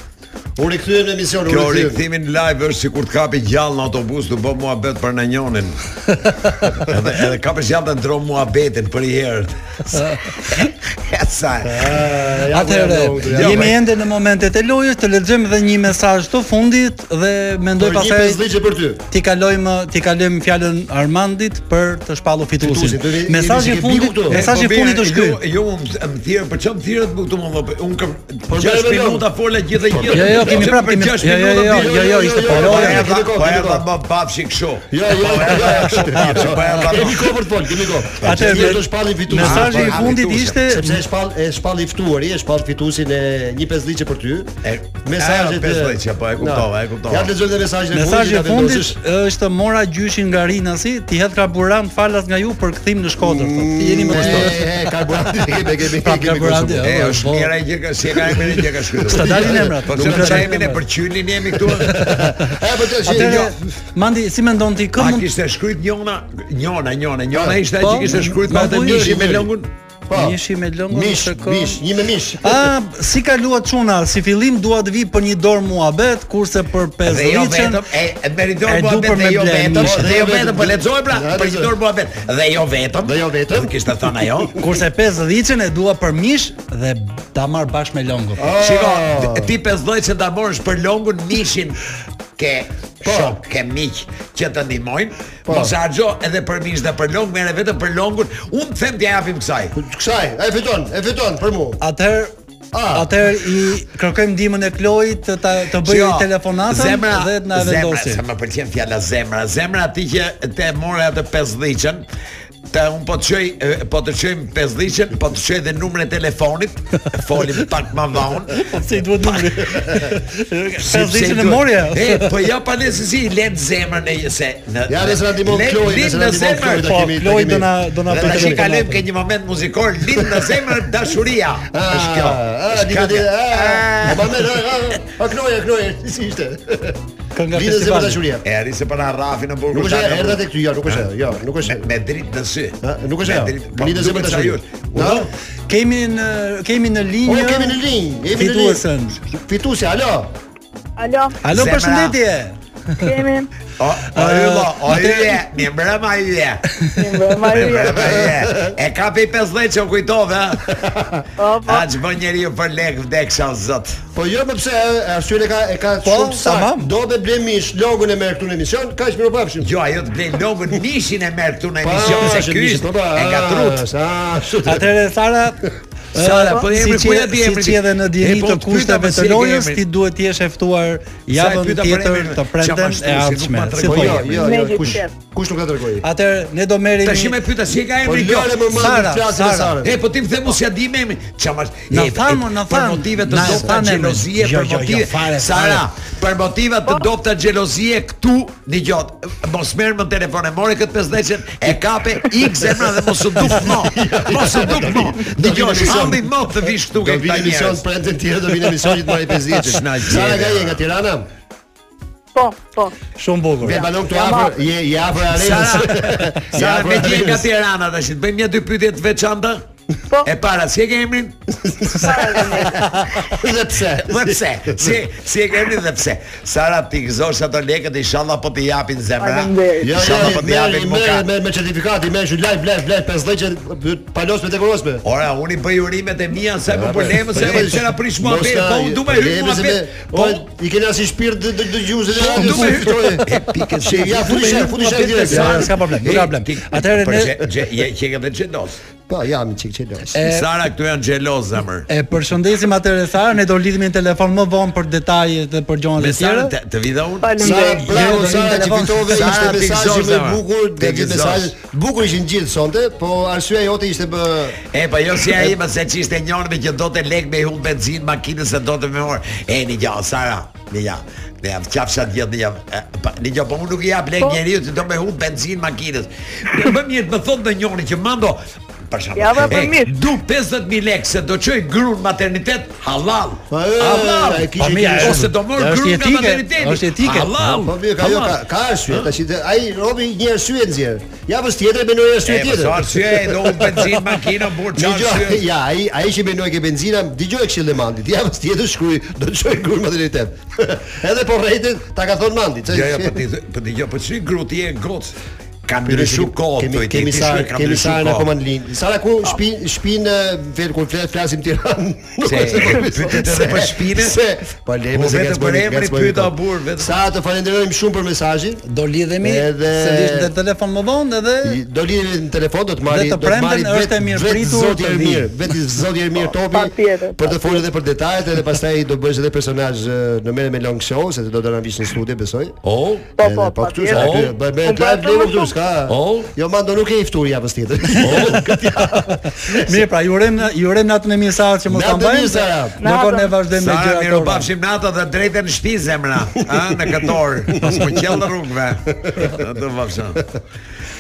U rikthyem në emision, Kjo u rikthyem. rikthimin live është sikur të kapi gjallë në autobus, të bë muhabet për në njonin. edhe edhe kapësh gjallë të ndron muhabetin për i herë. Sa. Atëherë, ja, jemi ja. ende në momentet e lojës, të lexojmë edhe një mesazh të fundit dhe mendoj Ndoj pasaj. pastaj 50 për ty. ti kalojmë ti kalojmë fjalën Armandit për të shpallur Fituesin, fituesin. do vi- Mesazhi jemi si ke i biku fundit, këtu. mesazhi i Po, fundit bire, është ky. po Ju, ju më më thirr, për çfarë më thirret më këtu më vëllai? Unë kam Po, 6 bere me lëng. minuta fola gjithë e gjithë. Jo, jo, jo, kemi prapë, kemi- jo, jo, jo, jo, jo, ishte po, jo, jo, po kemi erdha, kohë, po kemi erdha më papshi kështu. Jo, jo, Po jo, erdha jo, kështu, papshi, po erdha. më- Kemi kohë për të folë, kemi kohë. Atë, Sepse me- do shpalli fituesin. mesazhi Ah, i po, fundit fituesin. ishte- sepse e shpall e shpalli ftuari, e shpall fituesin e një pesdhiçe për ty. E- Mesazhet ajo pesdhiçe, po, e kuptova, Na, e kuptova. Ja të lexojmë dhe mesazhin e Mesazhi i fundit. fundit është mora gjyshin nga Rinasi, ti hedh karburant falas nga ju për kthim në Shkodër. thotë. Ti jeni më kushtot. E, karburanti, kemi kemi Prap kemi karburanti, konsum. E, po, është po. mira e gjë ka si e ka emrin e gjë ka shkruar. S'ta dalin emrat. Po Nuk na pse më dalin çajmin e emrat. përqylin jemi këtu? E, po të shi, Atëherë, jo. Mandi, si mendon ti kë A mund kishte shkruajt Njona, Njona, Njona, Njona ishte ai po, që kishte shkruajt me ma atë po, mishi ishte. me lëngun. Po. mishi me lëngun Mish, ose kë? mish, një me mish. A, si kalua çuna, si fillim dua të vi për një dorë muhabet, kurse për Dhe jo vetëm, pesdhiçën e e meriton E mua du për vetë, me dhe jo ble, vetëm, mishi. jo dhe jo vetëm, po lexoj pra, Ja, për lexoj. një dorë mua vetë, dhe jo vetëm. Dhe jo vetëm. Dhe Kishte thënë ajo. Kurse 50-ën e dua për mish dhe ta marr bashkë me lëngun. Shiko, d- ti 50 që ta morësh për longun mishin ke Po. shok, ke miq që të ndihmojnë, mos e harxho edhe për mish dhe për long, merre vetëm për longun. Unë të them t'ja japim kësaj. Kësaj, e fiton, e fiton për mua. Atëherë A. Atëherë i kërkojmë ndihmën e Klojit të ta, të Jo. bëjë Shiko, telefonatën dhe të na vendosi. Zemra, se më pëlqen fjala zemra. Zemra ti që te morë atë 50-ën, të un po të çoj e, po të çojm 50-ën, po të çoj dhe numrin e telefonit, folim pak më vonë. Po pse i duhet numri? Sepse 50-ën e duhet- morja. E, po ja pa le se si i let zemrën e se në. Ja, dhe se na ndihmon le- Kloi, lind dhe se na në ndihmon zemër. Kloi, do Po kemi- do Kloj kemi- do na do Po, na Dhe bëj tash i kalojmë ke telefonatën. një moment muzikor lind në zemër dashuria. Është kjo. Ah, Është dikë kjo. A po më a a knoje, knoje, si ishte. Kënga Lidhë se me festivali. dashuria. E arri se para rrafi në burgu. Nuk është shaka- erdha tek ty, jo, nuk është, ajo, jo, nuk është. Me, me dritë në sy. Ha, nuk është Me ajo. dritë- po, Lidhë duket zemra sa dashuria. jut. U Na? do? Kemi në kemi në O, linjë. kemi në linjë, jemi në Fituesën. linjë. Fituesi, alo. Alo, Alo, Zemra. përshëndetje. kemi O, o Eh, ylla, o atë- ylla, mi mbrëma ylla. një mbrëma Mi ju. mbrëma ylla. E ka pe 50 që u kujtove, ha? Opa, A që bën njeri për lek vdeksa zot. Po jo, po pse e, arsyeja ka e ka Po, shumë tamam. sakt. Do të blem mish logun e merr këtu në emision, kaq më pafshim. Jo, ajo të blej logën mishin e merr këtu në emision, se ky po, është e gatrut. Ah, gatrut. Atëherë Sara Sara, po emri, ku ja di emri Si ti? që edhe në E, dini po, të të pyeta kushtave pse të e ke lojës, emrin. ti duhet të jesh e ftuar Sa e javën pyeta për tjetër emrin? të Qa ma premten e shtu, si nuk ardhshme. ma Si tregoj Po po? jo, jo, Me jo, kush gjithë. kush nuk ka dërgoi. Atëherë ne do merremi Tash më pyeta si e ka Po emrin kjo? lëre më më Sara, flasim me Sara. Sarën. E po ti më the mos ja di me emrin. Çfarë mas? Na e, than, e, mo, na Për than. motive të Na e dobta than emrin. xhelozie, Jo, për jo, jo, motive. fare, Sara, fare. për motive të dobta xhelozie këtu dëgjot. Mos merr më telefon e more këtë 50 e kape X zemra dhe mos u duk më. Mos u duk më. Dëgjoj, halli më të vish këtu Do ke vinë këta emision njerëz. për të tjerë, do vinë emisionit më i 50. S'na gjeni. Sara ka je nga Tirana? po, po. Shumë bukur. Ve balon këtu jam afër, afër. je je afër Sara, arenës. Sara po. me gjë nga Tirana tash. të Bëjmë një dy pyetje të veçanta. Po. E para, si e ke emrin? Dhe pse? Dhe pse? Si si e keni dhe pse? Sara ti gëzosh ato lekët inshallah po ti japin zemra. Faleminderit. Jo, jo, Inshallah po ti merri, merri japin mukat. me me certifikat, i merr shu live, live, live 50 që palos me dekoros me. Ora, unë i bëj urimet e mia sa po problemë se Po, më jo, çera prish mua mos pe, na- po unë du me hyj problemi mua se pe. me- Po Po i keni asnjë shpirt dë- dë- dëgjuesit e radios. du me hyj. E pikë Që ja futi shef, futi shef direkt. Sara, s'ka problem, nuk ka problem. Atëherë ne po, je je edhe xhelos. Po jam çik çelos. e, Sara këtu janë xhelos zemër. e përshëndesim atëherë Sara, ne do lidhemi në telefon më vonë për detaje dhe për gjërat Me e Sara tjera. të, të vidha unë. Sara, Faleminderit. bravo Jo, do Sara një që telefon. fitove Sara, ishte ti mesazhi gëzosh, më i Sara. bukur, Ti të gjithë gëzosh. mesazhet. Bukur ishin gjithë sonte, po arsyeja jote ishte bë E po jo si ai më se çishte njërin me që do të lek me hum benzinë makinës se do të më mor. E një gjë Sara, një gjë. Ne jam qafsha djetë, ne jam e, pa, Një gjë, po unë nuk i jap lek njeriu që do me hum benzinë makinës Më bëm një të më thonë në njëri që mando Për shembull, Java për e, mirë. Du 50.000 lek se do qoj grun maternitet Halal Pa, e, Halal Po e, kishe kishe shumë. Ose do mor Është grun nga etike, materniteti është etike. Halal Po mirë, ka jo, ka, halal. ka arsye, tash i- ai robi një arsye nxjerr. Javës tjetër benoi arsye E, po tjetër. sa arsye, do unë benzinë makinë, burë Një qarë gjë, ja, ai ai që benoi ke benzina, dëgjoj këshillin e Mandit. Javës tjetër shkruaj, do të shoj grur materialitet. Edhe po rrejtet ta ka thon Mandi. çe- Jo, jo, po ti po ti jo, po çi grut je goc. Kam ndryshu kohë kemi këto i kemi ti sa shkoj, kam kemi ndryshu sa na kohë. Po. komand lind. Sara ku shpin shpin vetë kur flet flasim Tiranë. nuk Se, është se- pyetjet edhe për shpinën? Se po le Po, se vetëm gjatë për bëni- emrin gjatë bëni pyeta kohë. burr, vetëm- Sa të falenderojmë shumë për mesazhin. Do lidhemi edhe se vish në telefon më vonë edhe do lidhemi në telefon do të marrë Dhe të premten është e mirëpritur Zoti të vi. Ermir, vetë Zoti Ermir Topi për të folur edhe për detajet edhe pastaj do bësh edhe personazh eh, në merre me long show se do të na vish në studio besoj. Oh, po po, po këtu sa patjetër. aty bëj me drive Po, bëhet level më këtu shumë. s'ka. Oh. Jo mando nuk e i ftuar javës tjetër. Mirë, pra ju urojmë ju urojmë natën e mirë sa që mos ta Natën e mbajmë. mirë, Sara. Do kon ne vazhdojmë me Sara, gjërat Miru tona. bafshim nata dhe drejtën në shtëpi zemra, ë, në këtë orë, mos po qell në rrugëve. Do bafshim.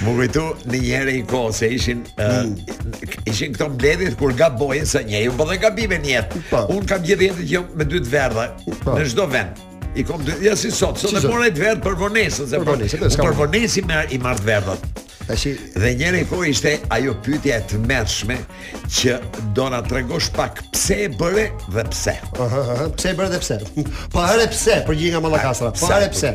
Më kujtu në njëre i kohë se ishin ë, ishin këto mbledhjet kur gaboje se njeriu po dhe gabime në jetë. Po. Unë kam gjithë jetën që jam me dy të verdha në çdo vend. I kom dy, ja si sot, sot Si e sot. mora i të verdh për vonesën, se Për për vonesën, unë s'ka për më. vonesën i marr të verdhat. Tash Dhe njëri i kohë ishte ajo pyetja e tmerrshme që do na tregosh pak pse e bëre dhe pse. Aha, aha, pse e bërë dhe pse? Po herë pse, përgjigj nga Mallakastra. Po herë pse?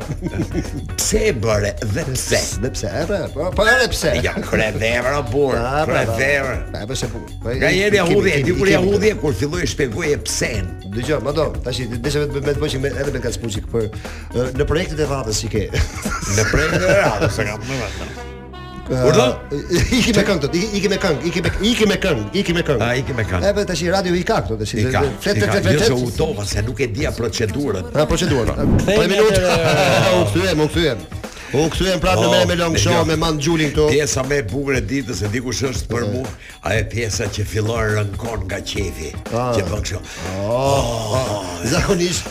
Pse e bëre dhe pse? Dhe pse? Erë, po po herë pse? Ja, kre vevra bur, Ah, kre brava. vevra. Pa, po se po. po, Nga i- njeri i ja kemi- hudhje, kemi- di kur i ja kemi hudhje kur filloi shpjegoje psen. Dëgjoj, më do. Tash desha vetë me të bëjë me edhe me Kacpuçik për eh, në projektet e radhës që ke. Në prejnë e radhë, se kam më vetë. Urdo? Eh, Iki me këngë, këtu, iki me këngë, iki me iki me këngë, iki me këngë. A, iki me këngë. E po tash i radio i ka këtu, tash I ka, flet i flet ka, flet jo se u flet. tova, se nuk e dhja procedurën. Ah, procedurën. Po Kthejmë minutë. atëherë- U kthyem, u kthyem. U kthyem prapë në Oh, merë Ah, me long show dëgjoj. me Mand Gjulin këtu. Pjesa më e bukur e ditës, e di kush është për mua, ajo pjesa që fillon rënkon nga qefi, Ah. që bën kështu. Oh, zakonisht,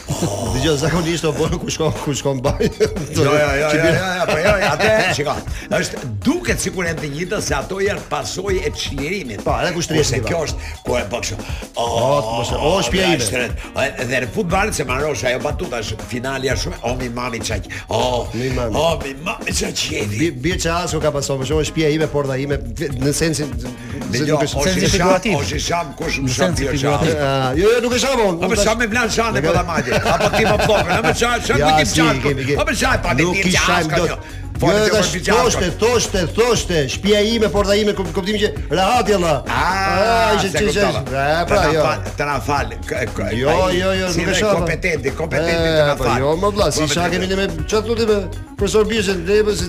dëgjoj, zakonisht o bën ku shkon ku shkon baj. Jo, jo, jo, jo, jo, jo, po jo, jo, atë, shiko. Është duket sikur janë të njëjta se ato janë pasojë e çlirimit. Po, edhe kush tresht i va. Kjo është ku e bën kështu. O, mos e- o, shpia ime. ime. Dhe në futboll se marrosh ajo batuta është finalja shumë. O mi mami çaj. O, mi mami. O mi mami çaj jeni. Bi- Birë që asku ka pasur, për shkak shtëpia ime, porta ime, në sensin Dhe se jo, nuk o është shi sham, o shi sham, kush më sham tjerë sham. Ah, Jo, jo, nuk e shama unë. A për unë sa tash- me vlan shane po ta madje. Apo ti më flokën, a më çaj, çaj Ja, ku ti si, kemi, çaj. kemi. jo? A më çaj pa ti Nuk i çaj. shajm dot. Jo, edhe thoshte, thoshte, thoshte, shtëpia ime, porta ime, kup- kuptim që rahati Allah. Ah, që se që që. kuptova. Ah, pra Të na jo. fal, të na fal. k- k- Jo, ai, jo, jo, si nuk e dhe shoh. Kompetenti, kompetenti të na E, po fal. Jo, më vlla, si Kompetenti. shaka kemi ne me çfarë thotë me profesor Bishën, ne po si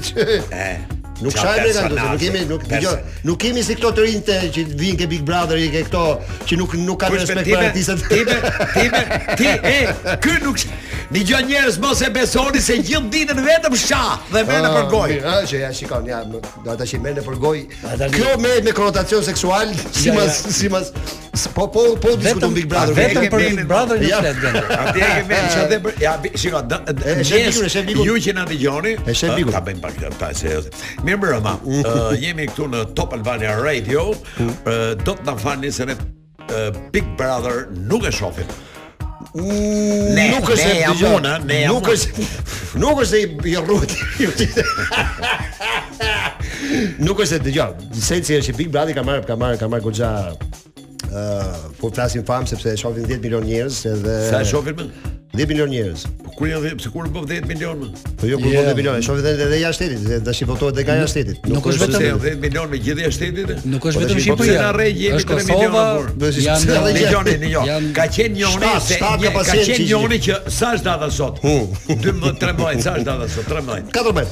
E. Nuk qa shajmë ne kanë thotë, nuk Eh, personazhe, kemi nuk perso- dëgjoj, nuk kemi si këto të rinjtë që vinë ke Big Brother i ke këto që nuk nuk kanë Kush me respekt time, për artistët. time, time, ti, e, kë nuk sh... Një gjë njerëz mos e besoni se gjithë ditën vetëm shah dhe me në Ah, përgoj. mirë, Ah, që ja shikon, ja, më- do ata që merr në përgoj. Kjo me me konotacion seksual, si Ja, mas ja. si mas s- po po po diskuton Big Brother. vetëm Kemi- për Big Brother nuk Ja. flet gjë. Atje e kemi që dhe për... Ja, bi- shiko, dë- dë- E, e shef mëngjes, Bikun, e shef Bikun. Ju që na dëgjoni... E shef Mm. ë, Bikun. Ta bëjmë pak të ta serioze. Mirë më rëma, jemi këtu në Top Albania Radio, Mm. ë, do të na falni se ne ë, Big Brother nuk e shohim. Ne, nuk është ne e jam dëgjoj, unë, ne jam Nuk unë. është nuk është se i i rruhet. nuk është se dëgjoj. Sensi është që Big Brother ka marrë ka marrë ka marrë goxha ë po flasim fam sepse e shohin 10 milion njerëz edhe Sa e shohim më? 10 milion njerëz. Po kur janë dhe- pse kur bë 10 milion më? Po jo kur Yeah. yeah. 10 milion, e shohin edhe edhe jashtë shtetit, dhe tash i votohet edhe nga jashtë shtetit. Nuk është Po Se vetëm jo. janë 10 milion me gjithë jashtë shtetit? e? Nuk është Po, vetëm tash i Po pse Shqipëria. na rrej jemi Është 3 milion Kosova, burr. Do si- janë edhe Dhe gjë. gjoni, një jo. Janë- Ka qenë njoni Shtat, se shtat një, ka ka pasien qenë që- njoni që sa është data sot? 12, 13, sa është data sot? 13. 14.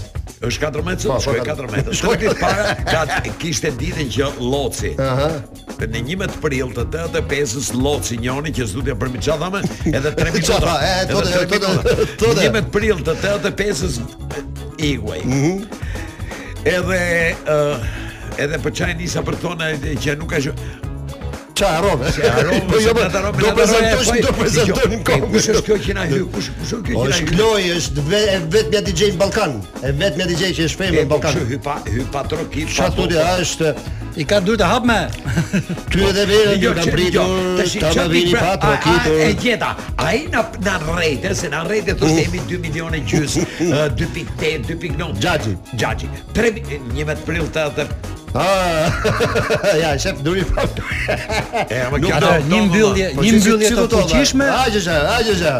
Është 14 Po, sot, po, shkoj ka- 14. shkoj. Shkoj ditë para, ka kishte ditën që Loci. Aha. Në 11 prill të 85-s Loci njoni që s'du t'ja përmi çfarë thamë, edhe 3 Çfarë minuta. tha? E, Edhe thotë, tre thotë, minuta. thotë. Në 11 prill të 85-s Iguaj. Mhm. Edhe ë edhe po çaj nisa për tonë që nuk ka shë- Ça harrove? Se harrova, Po jo, po, se ta harrova, do ta harrova, prezantosh, po, do jo, prezantonin po, Kush kohë. është kjo që na hy? Kush kush është kjo O që na është hy? Kloj, është ve- e vetmja DJ në Ballkan. E vetmja DJ që është E femër në po Ballkan. kështu po. hy pa hy pa trokit. Çfarë thotë a, është I ka dur të hap me. ty edhe verën ju jo, kanë jo, pritur, ta më vini pa trokitur. pra- Uh. E gjeta. Ai na na rrejte, se na rrejte thoshte jemi 2 milione uh, gjys, ë, 2.8, 2.9. Gjaxhi. Gjaxhi. 3 një prill të atë Ah, ja, shef duri pa. E, ma kjo do- Po, një mbyllje- një mbyllje të fuqishme. A gjëja, a gjëja.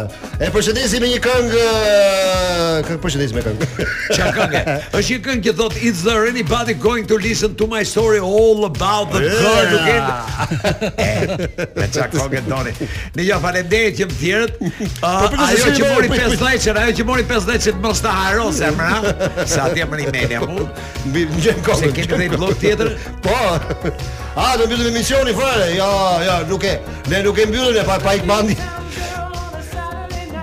E përshëndesim me një këngë, ë, këngë përshëndesim me këngë. Çfarë këngë? Është një këngë që thot It's the anybody going to listen to my story all about the girl who Yeah. came. Me çfarë këngë doni? Ne ju falenderoj jo, që më thjerët. Po, për këtë Ajo se që si mori me- me- 15, ajo që mori 15 mos ta haros emra. Sa atje më rimeni apo? Mbi ngjem kokën. Se kemi dhe një blok tjetër? Po. A do mbyllim emisionin fare? Jo, jo, nuk e. Ne nuk e mbyllim e pa pa ikmandi.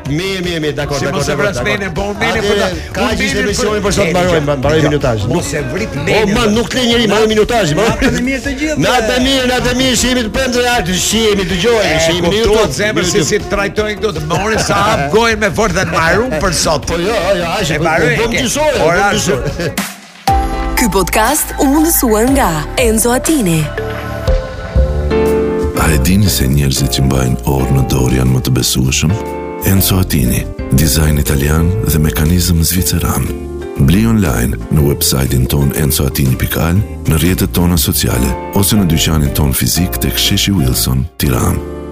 Mirë, mirë, mirë, dakor, Si dakor. mos e dakor, vras dakor. menin, po unë menin Atëre, për ta. Ka unë gjithë menin emisionin për- për sot Menin, mbarojmë, jo, mbarojmë minutazhin. Mos e vrit Po menin. ma nuk le njëri, marrë minutazhin, marrë. Natën e mirë të gjithëve. Natën e mirë, natën e mirë, shihemi të premte aktin, shihemi, dëgjojeni, shihemi në Kuptuat YouTube. zemër si si trajtojnë këtu të morin sa hap gojën me fortë dhe të marrum për sot. Po jo, jo, aq, E po, mbaroj, bëm ke. gjysore, bëm Ora gjysore. është- Ky podcast u mundësua nga Enzo Attini. A e dini se njerëzit që mbajnë orë në dorë janë më të besueshëm? Enzo Attini, dizajn italian dhe mekanizëm zviceran. Bli online në websajtin ton enzoatini.al, në rjetët tona sociale, ose në dyqanin ton fizik të ksheshi Wilson, tiranë.